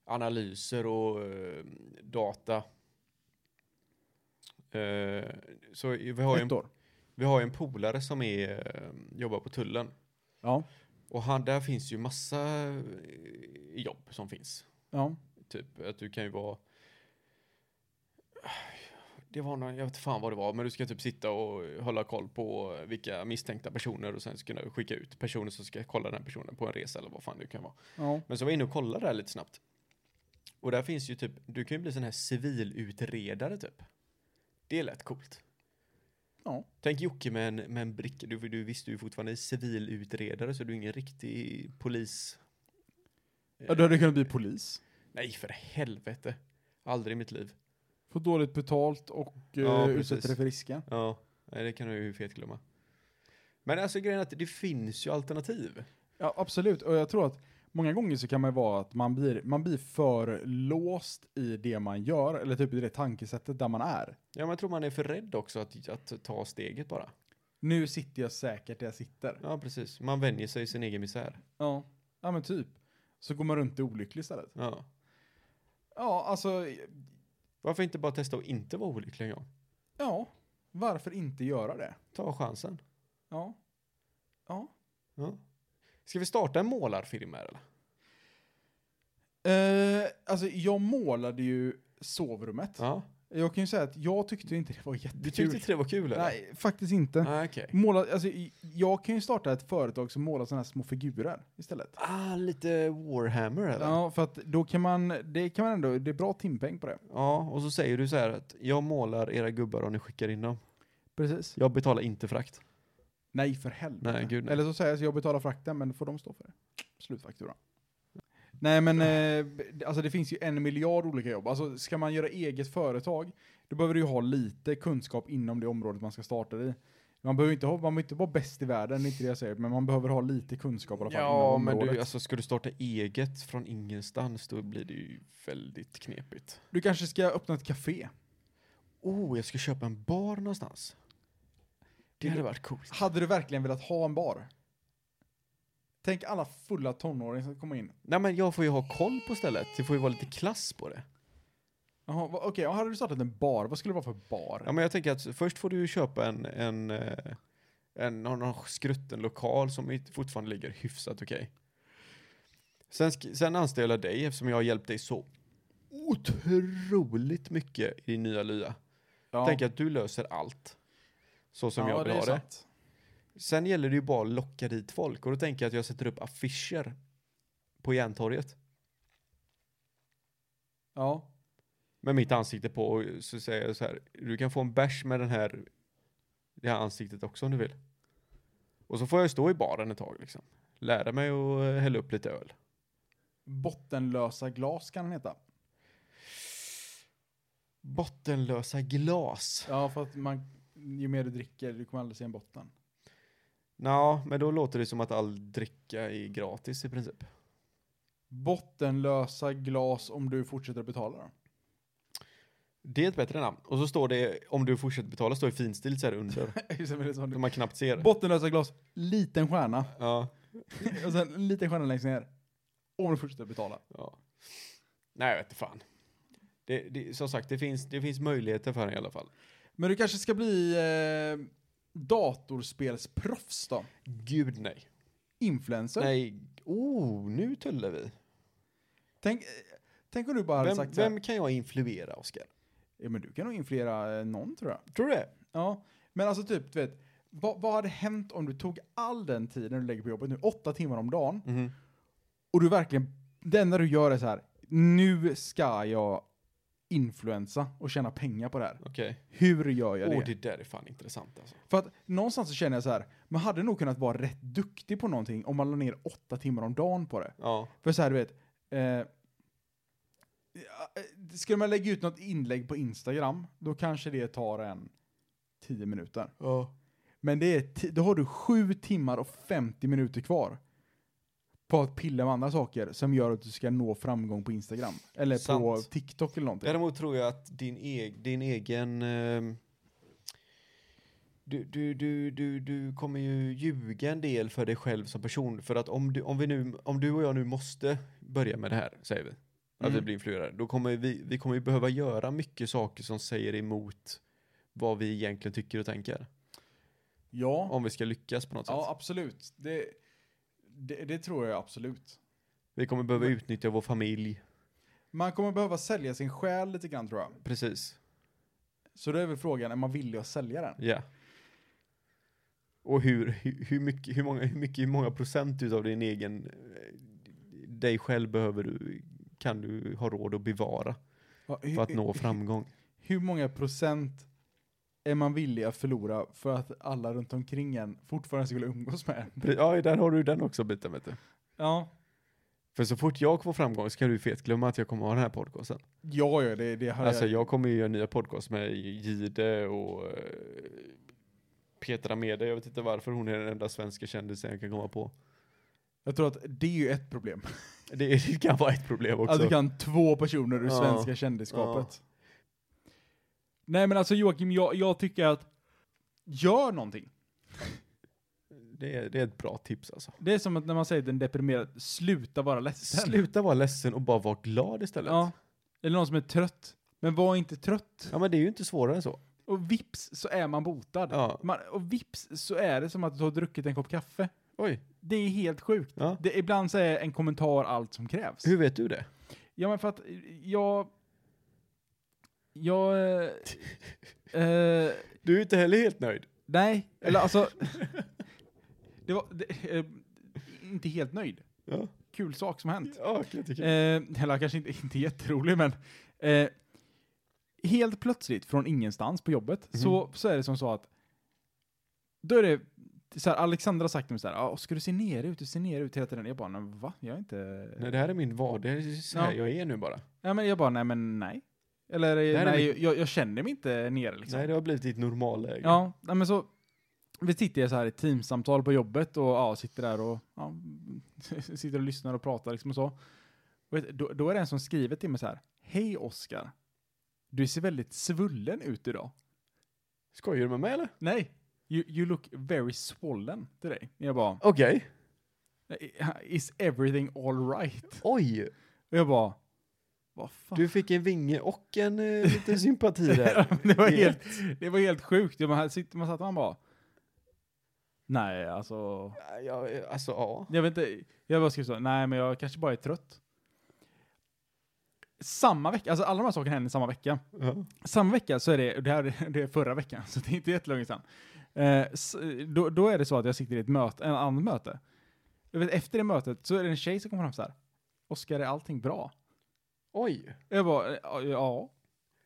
[SPEAKER 3] analyser och eh, data. Eh, så vi har, ju
[SPEAKER 4] Ett
[SPEAKER 3] en,
[SPEAKER 4] år?
[SPEAKER 3] vi har ju en polare som är, eh, jobbar på tullen.
[SPEAKER 4] Ja.
[SPEAKER 3] Och han, där finns ju massa eh, jobb som finns.
[SPEAKER 4] ja.
[SPEAKER 3] Typ att du kan ju vara... Det var någon, jag vet fan vad det var, men du ska typ sitta och hålla koll på vilka misstänkta personer och sen ska du skicka ut personer som ska kolla den personen på en resa eller vad fan det kan vara.
[SPEAKER 4] ja.
[SPEAKER 3] Men så var jag inne och kollade där lite snabbt. Och där finns ju typ, du kan ju bli sån här civilutredare typ. Det lät coolt.
[SPEAKER 4] Ja.
[SPEAKER 3] Tänk Jocke med en, med en bricka, du, du visst du är fortfarande civilutredare så du är ingen riktig polis.
[SPEAKER 4] Ja, du hade kunnat bli polis.
[SPEAKER 3] Nej för helvete. Aldrig i mitt liv.
[SPEAKER 4] Få dåligt betalt och eh,
[SPEAKER 3] Ja, precis.
[SPEAKER 4] utsätter dig för risker.
[SPEAKER 3] Ja, nej, det kan du ju fetglömma. Men alltså grejen är att det finns ju alternativ.
[SPEAKER 4] Ja, absolut. Och jag tror att många gånger så kan man ju vara att man blir, man blir för låst i det man gör, eller typ i det tankesättet där man är.
[SPEAKER 3] Ja, men jag tror man är för rädd också att, att ta steget bara.
[SPEAKER 4] Nu sitter jag säkert där jag sitter.
[SPEAKER 3] Ja, precis. Man vänjer sig i sin egen misär.
[SPEAKER 4] Ja. Ja, men typ. Så går man runt olycklig istället.
[SPEAKER 3] Ja.
[SPEAKER 4] Ja, alltså,
[SPEAKER 3] Varför inte bara testa att inte vara olycklig en gång?
[SPEAKER 4] ja. Varför inte göra det?
[SPEAKER 3] Ta chansen.
[SPEAKER 4] Ja. Ja.
[SPEAKER 3] Ja. Ska vi starta en målarfilm här eller?
[SPEAKER 4] Eh, alltså, jag målade ju sovrummet.
[SPEAKER 3] Ja.
[SPEAKER 4] Jag kan ju säga att jag tyckte inte det var jättekul.
[SPEAKER 3] Du tyckte inte det var kul eller?
[SPEAKER 4] Nej, faktiskt inte.
[SPEAKER 3] Ah, okej.
[SPEAKER 4] Måla, alltså, i- jag kan ju starta ett företag som målar sådana här små figurer istället.
[SPEAKER 3] Ah, lite Warhammer eller? Ja.
[SPEAKER 4] Ja, för att då kan man, det kan man ändå, det är bra timpeng på det.
[SPEAKER 3] och så säger du så här att jag målar era gubbar och ni skickar in dem.
[SPEAKER 4] Precis.
[SPEAKER 3] Jag betalar inte frakt.
[SPEAKER 4] Nej, för helvete.
[SPEAKER 3] Nej, gud, nej.
[SPEAKER 4] Eller så säger jag så jag betalar frakten, men då får de stå för det. Slutfaktura. Nej, men eh, b- alltså det finns ju en miljard olika jobb. Alltså ska man göra eget företag, då behöver du ju ha lite kunskap inom det området man ska starta det i. Man behöver inte, ha, man behöver inte vara bäst i världen, det är inte det jag säger, men man behöver ha lite kunskap i alla fall
[SPEAKER 3] Ja,
[SPEAKER 4] inom
[SPEAKER 3] men
[SPEAKER 4] området.
[SPEAKER 3] du, alltså ska du starta eget från ingenstans då blir det ju väldigt knepigt.
[SPEAKER 4] Du kanske ska öppna ett café.
[SPEAKER 3] Oh, jag ska köpa en bar någonstans. Det hade varit coolt.
[SPEAKER 4] Hade du verkligen velat ha en bar? Tänk alla fulla tonåringar som kommer in.
[SPEAKER 3] Nej, men jag får ju ha koll på stället. Det får ju vara lite klass på det.
[SPEAKER 4] Jaha, va- okej, okay, hade du startat en bar, vad skulle det vara för bar?
[SPEAKER 3] Ja, men jag tänker att först får du ju köpa en, en, eh, en någon, någon skrutten lokal som inte- fortfarande ligger hyfsat okej. Sen, sk- sen anställer jag dig eftersom jag har hjälpt dig så otroligt mycket i din nya lya.
[SPEAKER 4] Ja.
[SPEAKER 3] Tänk att du löser allt. Så som jag vill ha det.
[SPEAKER 4] sant.
[SPEAKER 3] Sen gäller det ju bara att locka dit folk och då tänker jag att jag sätter upp affischer på Järntorget
[SPEAKER 4] Ja.
[SPEAKER 3] med mitt ansikte på och så säger jag så här, du kan få en bärs med den här, det här ansiktet också om du vill. Och så får jag stå i baren ett tag liksom. Lära mig att eh, hälla upp lite öl.
[SPEAKER 4] Bottenlösa glas kan den heta.
[SPEAKER 3] Bottenlösa glas.
[SPEAKER 4] Ja, för att man, ju mer du dricker, du kommer aldrig se en botten.
[SPEAKER 3] Ja, men då låter det som att all dricka är gratis i princip.
[SPEAKER 4] Bottenlösa glas om du fortsätter att betala då.
[SPEAKER 3] Det är ett bättre namn. Och så står det, om du fortsätter betala, står det finstilt så här
[SPEAKER 4] <laughs>
[SPEAKER 3] under.
[SPEAKER 4] Just <laughs> det, men det är så
[SPEAKER 3] som
[SPEAKER 4] du-
[SPEAKER 3] man knappt ser.
[SPEAKER 4] Bottenlösa glas, liten stjärna.
[SPEAKER 3] Ja.
[SPEAKER 4] Och sen en liten stjärna längst ner. Om du fortsätter att betala.
[SPEAKER 3] Ja. Nej, jag vet inte fan. Det, det, som sagt, det finns, det finns möjligheter för en i alla fall.
[SPEAKER 4] Men du kanske ska bli eh, datorspelsproffs då?
[SPEAKER 3] Gud nej.
[SPEAKER 4] Influencer?
[SPEAKER 3] Nej, oh, nu tullar vi.
[SPEAKER 4] Tänk, eh, tänk om du bara hade
[SPEAKER 3] Vem,
[SPEAKER 4] sagt så här,
[SPEAKER 3] vem kan jag influera, Oskar?
[SPEAKER 4] ja, men du kan nog influera eh, någon tror jag.
[SPEAKER 3] Tror du det?
[SPEAKER 4] Ja, men alltså typ, du vet, vad, vad hade hänt om du tog all den tiden du lägger på jobbet nu, åtta timmar om dagen,
[SPEAKER 3] Mhm.
[SPEAKER 4] och du verkligen, det enda du gör är så här, nu ska jag influensa och tjäna pengar på det här.
[SPEAKER 3] Okej.
[SPEAKER 4] Hur gör jag
[SPEAKER 3] Åh,
[SPEAKER 4] det?
[SPEAKER 3] det där är fan intressant alltså.
[SPEAKER 4] För att någonstans så känner jag så här, man hade nog kunnat vara rätt duktig på någonting om man la ner åtta timmar om dagen på det.
[SPEAKER 3] Ja.
[SPEAKER 4] För så här, du vet, eh, ja, eh, skulle man lägga ut något inlägg på Instagram, då kanske det tar en tio minuter.
[SPEAKER 3] Ja.
[SPEAKER 4] Men det är ti- då har du sju timmar och 50 minuter kvar på att pilla med andra saker som gör att du ska nå framgång på Instagram. Eller på
[SPEAKER 3] Sant.
[SPEAKER 4] TikTok eller någonting.
[SPEAKER 3] Däremot tror jag att din, eg, din egen... ehm, du, du, du, du, du kommer ju ljuga en del för dig själv som person. För att om du, om vi nu, om du och jag nu måste börja med det här, säger vi, att vi
[SPEAKER 4] Mm.
[SPEAKER 3] blir influerade, då kommer vi, vi kommer ju behöva göra mycket saker som säger emot vad vi egentligen tycker och tänker.
[SPEAKER 4] Ja,
[SPEAKER 3] Om vi ska lyckas på något sätt.
[SPEAKER 4] ja absolut. Det, det, det tror jag absolut.
[SPEAKER 3] Vi kommer behöva utnyttja vår familj.
[SPEAKER 4] Man kommer behöva sälja sin själ lite grann tror jag.
[SPEAKER 3] Precis.
[SPEAKER 4] Så då är väl frågan, är man villig att sälja den?
[SPEAKER 3] Ja. Och hur, hur, hur, mycket, hur, många, hur mycket, hur många procent utav din egen, eh, dig själv behöver du, kan du ha råd att bevara
[SPEAKER 4] Ja, hur,
[SPEAKER 3] för att nå
[SPEAKER 4] hur-
[SPEAKER 3] framgång?
[SPEAKER 4] hur många procent är man villig att förlora för att alla runt omkring en fortfarande skulle umgås med en?
[SPEAKER 3] <laughs> Pre- Ja, där har du den också biten vet du.
[SPEAKER 4] Ja,
[SPEAKER 3] För så fort jag får framgång så kan du fetglömma att jag kommer ha den här podcasten.
[SPEAKER 4] ja, ja det, det har
[SPEAKER 3] Alltså
[SPEAKER 4] jag.
[SPEAKER 3] jag kommer ju göra nya podcast med Gide och eh, Petra Mede, jag vet inte varför hon är den enda svenska kändisen jag kan komma på.
[SPEAKER 4] Jag tror att det är ju ett problem.
[SPEAKER 3] Det, <laughs> det Alltså, kan vara ett problem också.
[SPEAKER 4] Att du kan två personer ur
[SPEAKER 3] Ja.
[SPEAKER 4] svenska kändisskapet. Nej men alltså Joakim, jag, jag tycker att gör någonting.
[SPEAKER 3] det, är, det är ett bra tips alltså.
[SPEAKER 4] Det är som att när man säger den deprimerad, sluta vara ledsen.
[SPEAKER 3] Sluta vara ledsen och bara vara glad istället.
[SPEAKER 4] Ja.
[SPEAKER 3] Ja.
[SPEAKER 4] Eller någon som är trött. Men var inte trött.
[SPEAKER 3] men det är ju inte svårare än så.
[SPEAKER 4] Och vips så är man botad.
[SPEAKER 3] Ja.
[SPEAKER 4] Man, och vips så är det som att du har druckit en kopp kaffe.
[SPEAKER 3] Oj.
[SPEAKER 4] Det är helt sjukt.
[SPEAKER 3] Ja.
[SPEAKER 4] Det, ibland så är en kommentar allt som krävs.
[SPEAKER 3] Hur vet du det?
[SPEAKER 4] Ja men för att jag... Jag... Eh, eh,
[SPEAKER 3] Du är inte heller helt nöjd.
[SPEAKER 4] nej, eller
[SPEAKER 3] <laughs>
[SPEAKER 4] alltså... det var... Det, eh, inte helt nöjd.
[SPEAKER 3] Ja,
[SPEAKER 4] Kul sak som hänt.
[SPEAKER 3] ja kan jag tycka.
[SPEAKER 4] Mm. Eh, eller kanske inte, inte jätterolig, men... Eh, helt plötsligt, från ingenstans på jobbet,
[SPEAKER 3] Mhm.
[SPEAKER 4] så, så är det som så att... Då är det... Så här, Alexandra har sagt till mig så här, "Ah, ska du se ner ut? Du ser ner ut hela tiden. Jag bara, "Nej, va? Jag är inte...
[SPEAKER 3] Nej, det här är min vardag. Det är så här
[SPEAKER 4] Ja.
[SPEAKER 3] jag är nu bara.
[SPEAKER 4] Ja, men jag bara, nej men nej. Eller
[SPEAKER 3] är
[SPEAKER 4] nej,
[SPEAKER 3] mitt-
[SPEAKER 4] jag, jag känner mig inte nere liksom.
[SPEAKER 3] Nej, det har blivit ditt normalläge.
[SPEAKER 4] Ja, nej, men så. Vi sitter så här i ett teamsamtal på jobbet och ja, sitter där och ja, <laughs> sitter och lyssnar och pratar liksom och så. Och vet- då, då är det en som skriver till mig så här. Hej Oskar. Du ser väldigt svullen ut idag.
[SPEAKER 3] Skojar du med mig eller?
[SPEAKER 4] Nej, you, you look very swollen till dig. Jag bara,
[SPEAKER 3] Okej.
[SPEAKER 4] is everything alright?
[SPEAKER 3] Oj,
[SPEAKER 4] Och jag bara, vad fan?
[SPEAKER 3] du fick en vinge och en eh, liten sympati där.
[SPEAKER 4] <laughs> Ja, men det, var
[SPEAKER 3] Det-
[SPEAKER 4] helt, det var helt sjukt. Man, här sitter, man satt och man bara... Nej, alltså...
[SPEAKER 3] Ja, alltså, ja.
[SPEAKER 4] Jag vet inte. Jag bara skrev så. Nej, men jag kanske bara är trött. Samma vecka, alltså alla de här sakerna händer samma vecka.
[SPEAKER 3] ja.
[SPEAKER 4] Samma vecka så är det, och det här <laughs> är- det är förra veckan, så det är inte jättelänge sedan. Eh, s- då, då är det så att jag sitter i ett möte, en annat möte. Jag vet, efter det mötet så är det en tjej som kommer fram så här. Oskar, är allting bra?
[SPEAKER 3] Oj.
[SPEAKER 4] Jag bara, "Eh, ja, ja.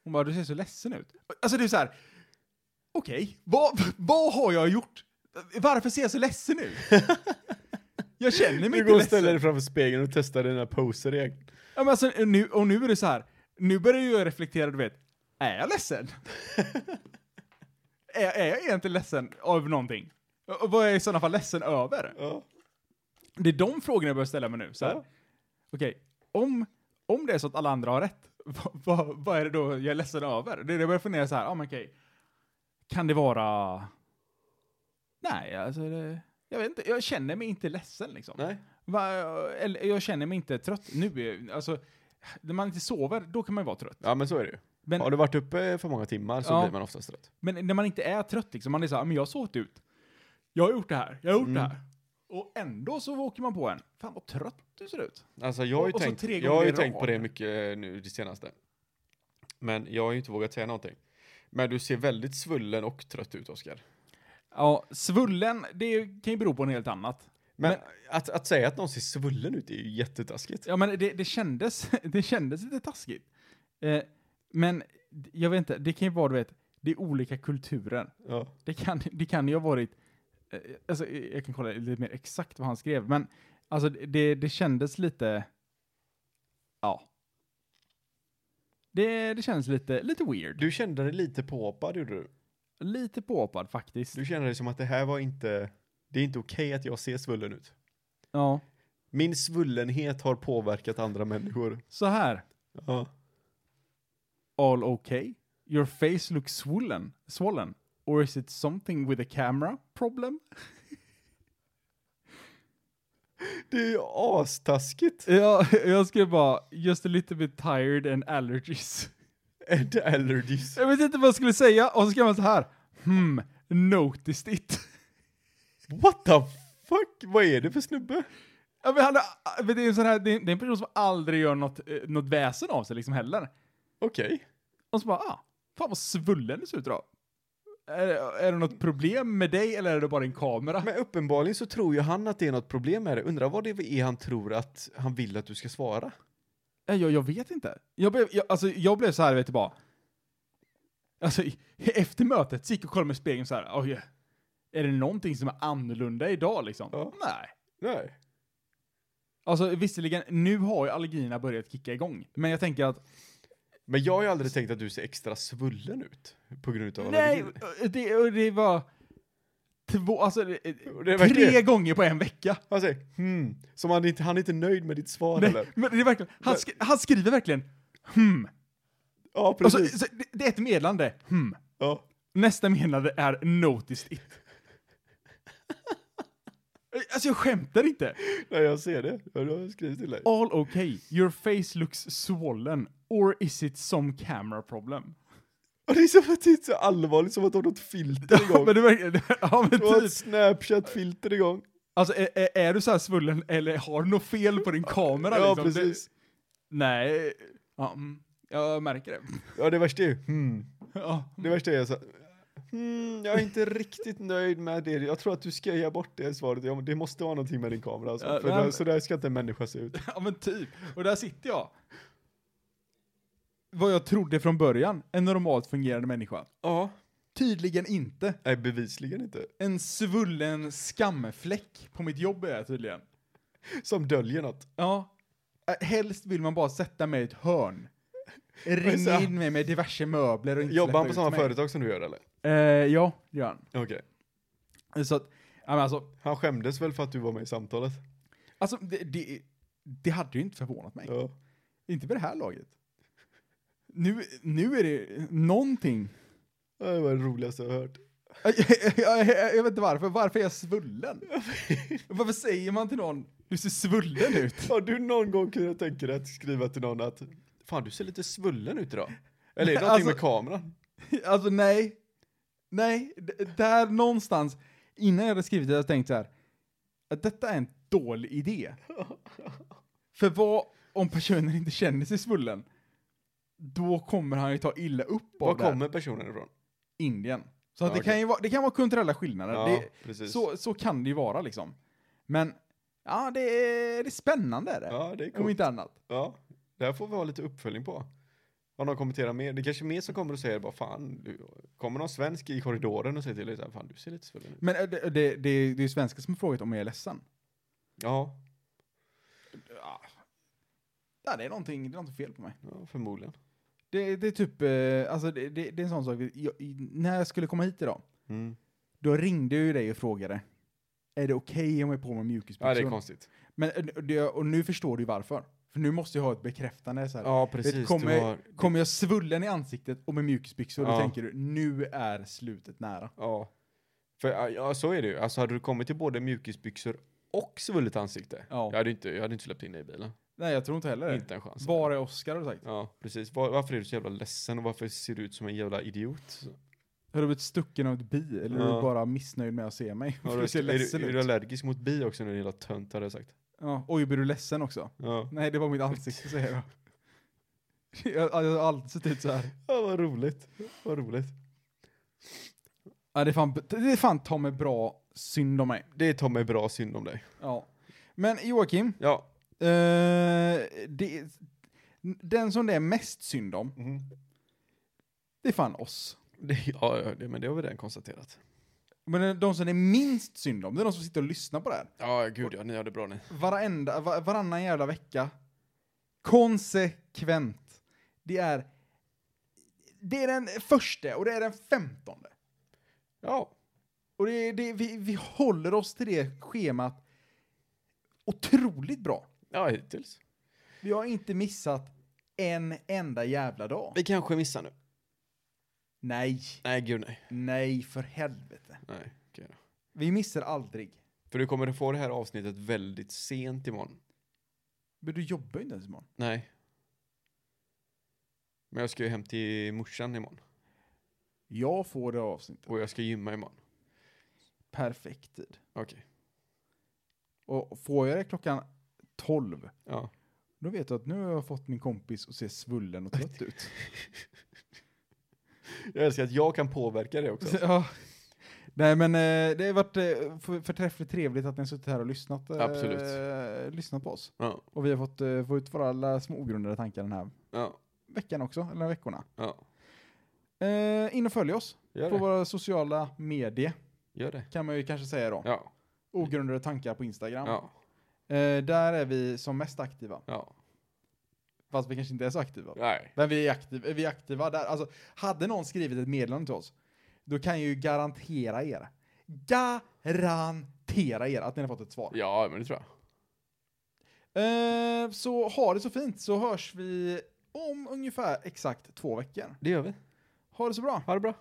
[SPEAKER 4] Hon bara, du ser så ledsen ut. Alltså det är så här. okej, vad, vad har jag gjort? Varför ser jag så ledsen ut? jag känner mig
[SPEAKER 3] Du
[SPEAKER 4] inte
[SPEAKER 3] går och
[SPEAKER 4] ledsen.
[SPEAKER 3] ställer dig framför spegeln och testar dina poser igen.
[SPEAKER 4] Ja, men alltså, nu, och nu är det så här. nu börjar jag reflektera, du vet, är jag ledsen? är, är jag egentligen ledsen av någonting? Och vad är jag i sådana fall ledsen över?
[SPEAKER 3] Ja.
[SPEAKER 4] Det är de frågorna jag börjar ställa mig nu. Så här.
[SPEAKER 3] Ja.
[SPEAKER 4] Okej, om, om det är så att alla andra har rätt, <laughs> vad, vad, vad är det då jag är ledsen över? Det är det jag börjar fundera så här, ah, men okej. Kan det vara... Nej, alltså det, jag vet inte, jag känner mig inte ledsen liksom.
[SPEAKER 3] Nej.
[SPEAKER 4] Va, eller jag känner mig inte trött nu. är- Alltså, när man inte sover, då kan man ju vara trött.
[SPEAKER 3] Ja, men så är det ju.
[SPEAKER 4] Men,
[SPEAKER 3] Har du varit uppe för många timmar så
[SPEAKER 4] Ja.
[SPEAKER 3] blir man oftast trött.
[SPEAKER 4] men när man inte är trött, liksom, man är så här, men jag har sovit ut. Jag har gjort det här, jag har gjort
[SPEAKER 3] Mm.
[SPEAKER 4] det här. Och ändå så åker man på en. Fan vad trött du ser ut.
[SPEAKER 3] Alltså jag har ju,
[SPEAKER 4] Och- och så
[SPEAKER 3] tänkt,
[SPEAKER 4] tre
[SPEAKER 3] jag har ju
[SPEAKER 4] gånger i
[SPEAKER 3] tänkt på
[SPEAKER 4] rad.
[SPEAKER 3] det mycket eh, nu det senaste. Men jag har ju inte vågat säga någonting. Men du ser väldigt svullen och trött ut, Oskar.
[SPEAKER 4] Ja, svullen, det kan ju bero på en helt annat.
[SPEAKER 3] Men,
[SPEAKER 4] Men-
[SPEAKER 3] att, att säga att någon ser svullen ut är ju jättetaskigt.
[SPEAKER 4] Ja, men det, det, kändes, <laughs> det kändes lite taskigt. Eh, men d- jag vet inte, det kan ju vara, du vet, det är olika kulturer.
[SPEAKER 3] Ja.
[SPEAKER 4] Det kan, <laughs> det kan ju ha varit, eh, alltså, eh, jag kan kolla lite mer exakt vad han skrev, men alltså det, det kändes lite, ja. Det, det kändes lite, lite weird.
[SPEAKER 3] Du kände dig lite påhoppad, gjorde du?
[SPEAKER 4] Lite påhoppad faktiskt.
[SPEAKER 3] Du kände dig som att det här var inte, det är inte okej att jag ser svullen ut.
[SPEAKER 4] Ja,
[SPEAKER 3] Min svullenhet har påverkat andra människor.
[SPEAKER 4] så här.
[SPEAKER 3] Ja.
[SPEAKER 4] all okay? Your face looks swollen, swollen. Or is it something with a camera problem?
[SPEAKER 3] Det är ju astaskigt.
[SPEAKER 4] Ja, <laughs> jag skrev bara just a little bit tired and allergies. <laughs>
[SPEAKER 3] And allergies.
[SPEAKER 4] Jag vet inte vad jag skulle säga och så skrev man så här. Hmm, noticed it. <laughs>
[SPEAKER 3] What the fuck? Vad är det för snubbe?
[SPEAKER 4] Ja, men han, har- men det, är en sån här, det, är, det är en person som aldrig gör något, eh, något väsen av sig liksom heller.
[SPEAKER 3] Okej.
[SPEAKER 4] Och så bara, ah, fan vad svullen du ser ut idag. Är, är det något problem med dig eller är det bara din kamera?
[SPEAKER 3] Men uppenbarligen så tror ju han att det är något problem med det. Undrar vad det är han tror att han vill att du ska svara.
[SPEAKER 4] Nej, Eh, Jag, jag vet inte. Jag blev, jag, alltså, jag blev så här, vet du bara. Alltså, <laughs> i- efter mötet så gick jag och kollade mig i spegeln så här. Oj, är det någonting som är annorlunda idag liksom?
[SPEAKER 3] Ja.
[SPEAKER 4] Nej.
[SPEAKER 3] Nej.
[SPEAKER 4] Alltså visserligen, nu har ju allergierna börjat kicka igång. Men jag tänker att,
[SPEAKER 3] Men jag har ju aldrig tänkt att du ser extra svullen ut på grund av
[SPEAKER 4] nej, eh,
[SPEAKER 3] allergin.
[SPEAKER 4] det, och det var två, alltså det,
[SPEAKER 3] det är verkligen-
[SPEAKER 4] tre gånger på en vecka.
[SPEAKER 3] Han säger hmm, som han, inte, han är inte nöjd med ditt svar
[SPEAKER 4] Nej,
[SPEAKER 3] eller?
[SPEAKER 4] men det är verkligen, han, sk, han skriver verkligen hmm.
[SPEAKER 3] Ja,
[SPEAKER 4] Och
[SPEAKER 3] precis.
[SPEAKER 4] så, så, det, det är ett meddelande, hmm.
[SPEAKER 3] ja.
[SPEAKER 4] Nästa menade är noticed it. Alltså jag skämtar inte.
[SPEAKER 3] Nej, jag ser det. Jag har skrivit till dig.
[SPEAKER 4] All okay, your face looks swollen. Or is it some camera problem?
[SPEAKER 3] Och det är som att det är så allvarligt som att de har
[SPEAKER 4] <laughs>
[SPEAKER 3] något filter igång.
[SPEAKER 4] men det verkar, <laughs> ja men
[SPEAKER 3] Du har ett
[SPEAKER 4] typ.
[SPEAKER 3] Snapchat-filter igång.
[SPEAKER 4] Alltså är, är- är du så här svullen eller har du något fel på din kamera
[SPEAKER 3] Ja,
[SPEAKER 4] liksom?
[SPEAKER 3] precis.
[SPEAKER 4] Det, nej. Ja, mm. Jag märker det.
[SPEAKER 3] Ja, det värsta är ju, hmm.
[SPEAKER 4] <laughs> Ja.
[SPEAKER 3] Det värsta är så här, hmm, jag är inte riktigt nöjd med det. Jag tror att du skojar bort det svaret. Ja, men det måste vara någonting med din kamera alltså.
[SPEAKER 4] Ja,
[SPEAKER 3] För
[SPEAKER 4] nej,
[SPEAKER 3] där,
[SPEAKER 4] men-
[SPEAKER 3] så där ska inte en människa se ut.
[SPEAKER 4] Ja men typ. Och där sitter jag. Vad jag trodde från början, en normalt fungerande människa.
[SPEAKER 3] Ja.
[SPEAKER 4] Tydligen inte.
[SPEAKER 3] Nej, bevisligen inte.
[SPEAKER 4] En svullen skamfläck på mitt jobb är jag tydligen.
[SPEAKER 3] Som döljer något.
[SPEAKER 4] Ja. Äh, Helst vill man bara sätta mig i ett hörn.
[SPEAKER 3] så
[SPEAKER 4] Ringa
[SPEAKER 3] här-
[SPEAKER 4] in mig med diverse möbler och inte släppa
[SPEAKER 3] Jobbar han på
[SPEAKER 4] ut
[SPEAKER 3] samma
[SPEAKER 4] mig.
[SPEAKER 3] företag som du gör eller?
[SPEAKER 4] Eh, ja, det gör han.
[SPEAKER 3] Okej.
[SPEAKER 4] Så att, ja, men alltså,
[SPEAKER 3] Han skämdes väl för att du var med i samtalet?
[SPEAKER 4] alltså det, det, det hade ju inte förvånat mig.
[SPEAKER 3] Ja.
[SPEAKER 4] Inte vid det här laget. Nu, nu är det
[SPEAKER 3] <laughs>
[SPEAKER 4] någonting.
[SPEAKER 3] Ja, Det var det roligaste jag har hört.
[SPEAKER 4] Jag, jag, jag, jag vet inte varför. Varför är jag
[SPEAKER 3] <laughs>
[SPEAKER 4] svullen? Varför säger man till någon, du ser svullen ut?
[SPEAKER 3] Har du någon gång kunnat tänka dig att skriva till någon att Fan du ser lite svullen ut idag? Eller är det
[SPEAKER 4] Alltså-
[SPEAKER 3] någonting med kameran?
[SPEAKER 4] <laughs> Alltså nej. Nej, d- där någonstans, innan jag hade skrivit det, jag tänkt så här. Att detta är en dålig
[SPEAKER 3] <laughs>
[SPEAKER 4] idé. För vad om personen inte känner sig svullen? Då kommer han ju ta illa upp av
[SPEAKER 3] Var
[SPEAKER 4] det här.
[SPEAKER 3] kommer personen ifrån?
[SPEAKER 4] Indien. Så att
[SPEAKER 3] Ja,
[SPEAKER 4] det,
[SPEAKER 3] okej.
[SPEAKER 4] kan ju vara, det kan vara kulturella skillnader.
[SPEAKER 3] Ja,
[SPEAKER 4] det,
[SPEAKER 3] precis.
[SPEAKER 4] så, så kan det ju vara liksom. Men, ja det är, det är spännande är det.
[SPEAKER 3] Ja, det är
[SPEAKER 4] Om
[SPEAKER 3] coolt.
[SPEAKER 4] inte annat.
[SPEAKER 3] Ja, det här får vi ha lite uppföljning på. Om någon kommenterar mer, det är kanske är mer som kommer och säger bara fan, du, kommer någon svensk i korridoren och säger till dig så här, fan du ser lite svullen ut.
[SPEAKER 4] Men äh, det, det, det är ju svenskar som har frågat om jag är ledsen.
[SPEAKER 3] Ja,
[SPEAKER 4] Ja, det är någonting, det är någonting fel på mig.
[SPEAKER 3] ja förmodligen.
[SPEAKER 4] Det, det är typ, eh, alltså det, det, det är en sån sak, jag, i- när jag skulle komma hit idag,
[SPEAKER 3] Mm.
[SPEAKER 4] då ringde jag ju dig och frågade, är det okej om jag är på mig mjukisbyxor?
[SPEAKER 3] Ja, det är konstigt.
[SPEAKER 4] Men, eh, det, och nu förstår du ju varför. För nu måste jag ha ett bekräftande så här.
[SPEAKER 3] Ja,
[SPEAKER 4] Vet,
[SPEAKER 3] precis.
[SPEAKER 4] kommer,
[SPEAKER 3] Du har,
[SPEAKER 4] kommer jag svullen i ansiktet och med mjukisbyxor,
[SPEAKER 3] Ja.
[SPEAKER 4] då tänker du, nu är slutet nära.
[SPEAKER 3] ja. För, ja, så är det ju. Alltså hade du kommit till både mjukisbyxor och svullet ansikte,
[SPEAKER 4] Ja.
[SPEAKER 3] jag, hade inte, jag hade inte släppt in dig i bilen.
[SPEAKER 4] Nej, jag tror inte heller det.
[SPEAKER 3] Inte en chans.
[SPEAKER 4] Var är Oscar har du sagt?
[SPEAKER 3] Ja, precis. Var, varför är du så jävla ledsen och varför ser du ut som en jävla idiot?
[SPEAKER 4] Har du blivit stucken av ett bi eller är
[SPEAKER 3] Ja.
[SPEAKER 4] du bara missnöjd med att se mig?
[SPEAKER 3] Ja,
[SPEAKER 4] För <laughs>
[SPEAKER 3] du,
[SPEAKER 4] du ser
[SPEAKER 3] är,
[SPEAKER 4] ledsen
[SPEAKER 3] du, är du
[SPEAKER 4] ut.
[SPEAKER 3] allergisk mot bi också när det gäller tönt, hade jag sagt.
[SPEAKER 4] Ja. Oj, blir du ledsen också?
[SPEAKER 3] Ja.
[SPEAKER 4] Nej, det var mitt ansikte säger jag. Jag <laughs> jag har alltid sett ut så här.
[SPEAKER 3] ja, vad roligt. Vad roligt.
[SPEAKER 4] Ja, det, är fan, det är fan ta mig bra synd om mig.
[SPEAKER 3] Det är ta mig bra synd om dig.
[SPEAKER 4] Ja. Men Joakim,
[SPEAKER 3] Ja.
[SPEAKER 4] eh, det, den som det är mest synd om,
[SPEAKER 3] Mm.
[SPEAKER 4] det är fan oss.
[SPEAKER 3] Det, ja, ja det, men det har vi redan konstaterat.
[SPEAKER 4] Men de som det är minst synd om, det är de som sitter och lyssnar på det här.
[SPEAKER 3] Ja, gud ja, ni har det bra ni.
[SPEAKER 4] Varenda, va- varannan jävla vecka. Konsekvent. Det är... Det är den första och det är den femtonde.
[SPEAKER 3] Ja.
[SPEAKER 4] Och det, det, vi, vi håller oss till det schemat otroligt bra.
[SPEAKER 3] Ja, hittills.
[SPEAKER 4] Vi har inte missat en enda jävla dag.
[SPEAKER 3] Vi kanske missar nu.
[SPEAKER 4] Nej,
[SPEAKER 3] Nej, gud nej.
[SPEAKER 4] nej för helvete.
[SPEAKER 3] Nej, okej då.
[SPEAKER 4] Vi missar aldrig.
[SPEAKER 3] För du kommer att få det här avsnittet väldigt sent imorgon.
[SPEAKER 4] Men du jobbar ju inte ens imorgon.
[SPEAKER 3] Nej. Men jag ska ju hem till morsan imorgon.
[SPEAKER 4] Jag får det avsnittet.
[SPEAKER 3] Och jag ska gymma imorgon.
[SPEAKER 4] Perfekt tid.
[SPEAKER 3] Okej.
[SPEAKER 4] Och får jag det klockan 12,
[SPEAKER 3] Ja.
[SPEAKER 4] då vet jag att nu har jag fått min kompis att se svullen och trött ut.
[SPEAKER 3] Jag älskar att jag kan påverka det också.
[SPEAKER 4] ja. Nej men eh, det har varit eh, för- förträffligt trevligt att ni har suttit här och lyssnat, eh,
[SPEAKER 3] Absolut.
[SPEAKER 4] lyssnat på oss.
[SPEAKER 3] <laughs> Ja,
[SPEAKER 4] Och vi har fått eh, få ut våra alla små ogrundade tankar den här
[SPEAKER 3] ja,
[SPEAKER 4] veckan också, eller den här veckorna.
[SPEAKER 3] ja.
[SPEAKER 4] Eh, in och följ oss
[SPEAKER 3] Gör
[SPEAKER 4] på
[SPEAKER 3] det.
[SPEAKER 4] våra sociala medier,
[SPEAKER 3] Gör det.
[SPEAKER 4] kan man ju kanske säga då.
[SPEAKER 3] Ja,
[SPEAKER 4] Ogrundade tankar på Instagram.
[SPEAKER 3] ja,
[SPEAKER 4] Eh, där är vi som mest aktiva,
[SPEAKER 3] ja.
[SPEAKER 4] fast vi kanske inte är så aktiva.
[SPEAKER 3] Nej.
[SPEAKER 4] Men vi är, aktiv, vi är aktiva där. Alltså, hade någon skrivit ett meddelande till oss, då kan jag ju garantera er. Garantera er att ni har fått ett svar.
[SPEAKER 3] Ja, men det tror jag.
[SPEAKER 4] Eh, så ha det så fint, så hörs vi om ungefär exakt två veckor.
[SPEAKER 3] Det gör vi.
[SPEAKER 4] Ha det så bra.
[SPEAKER 3] Ha det bra.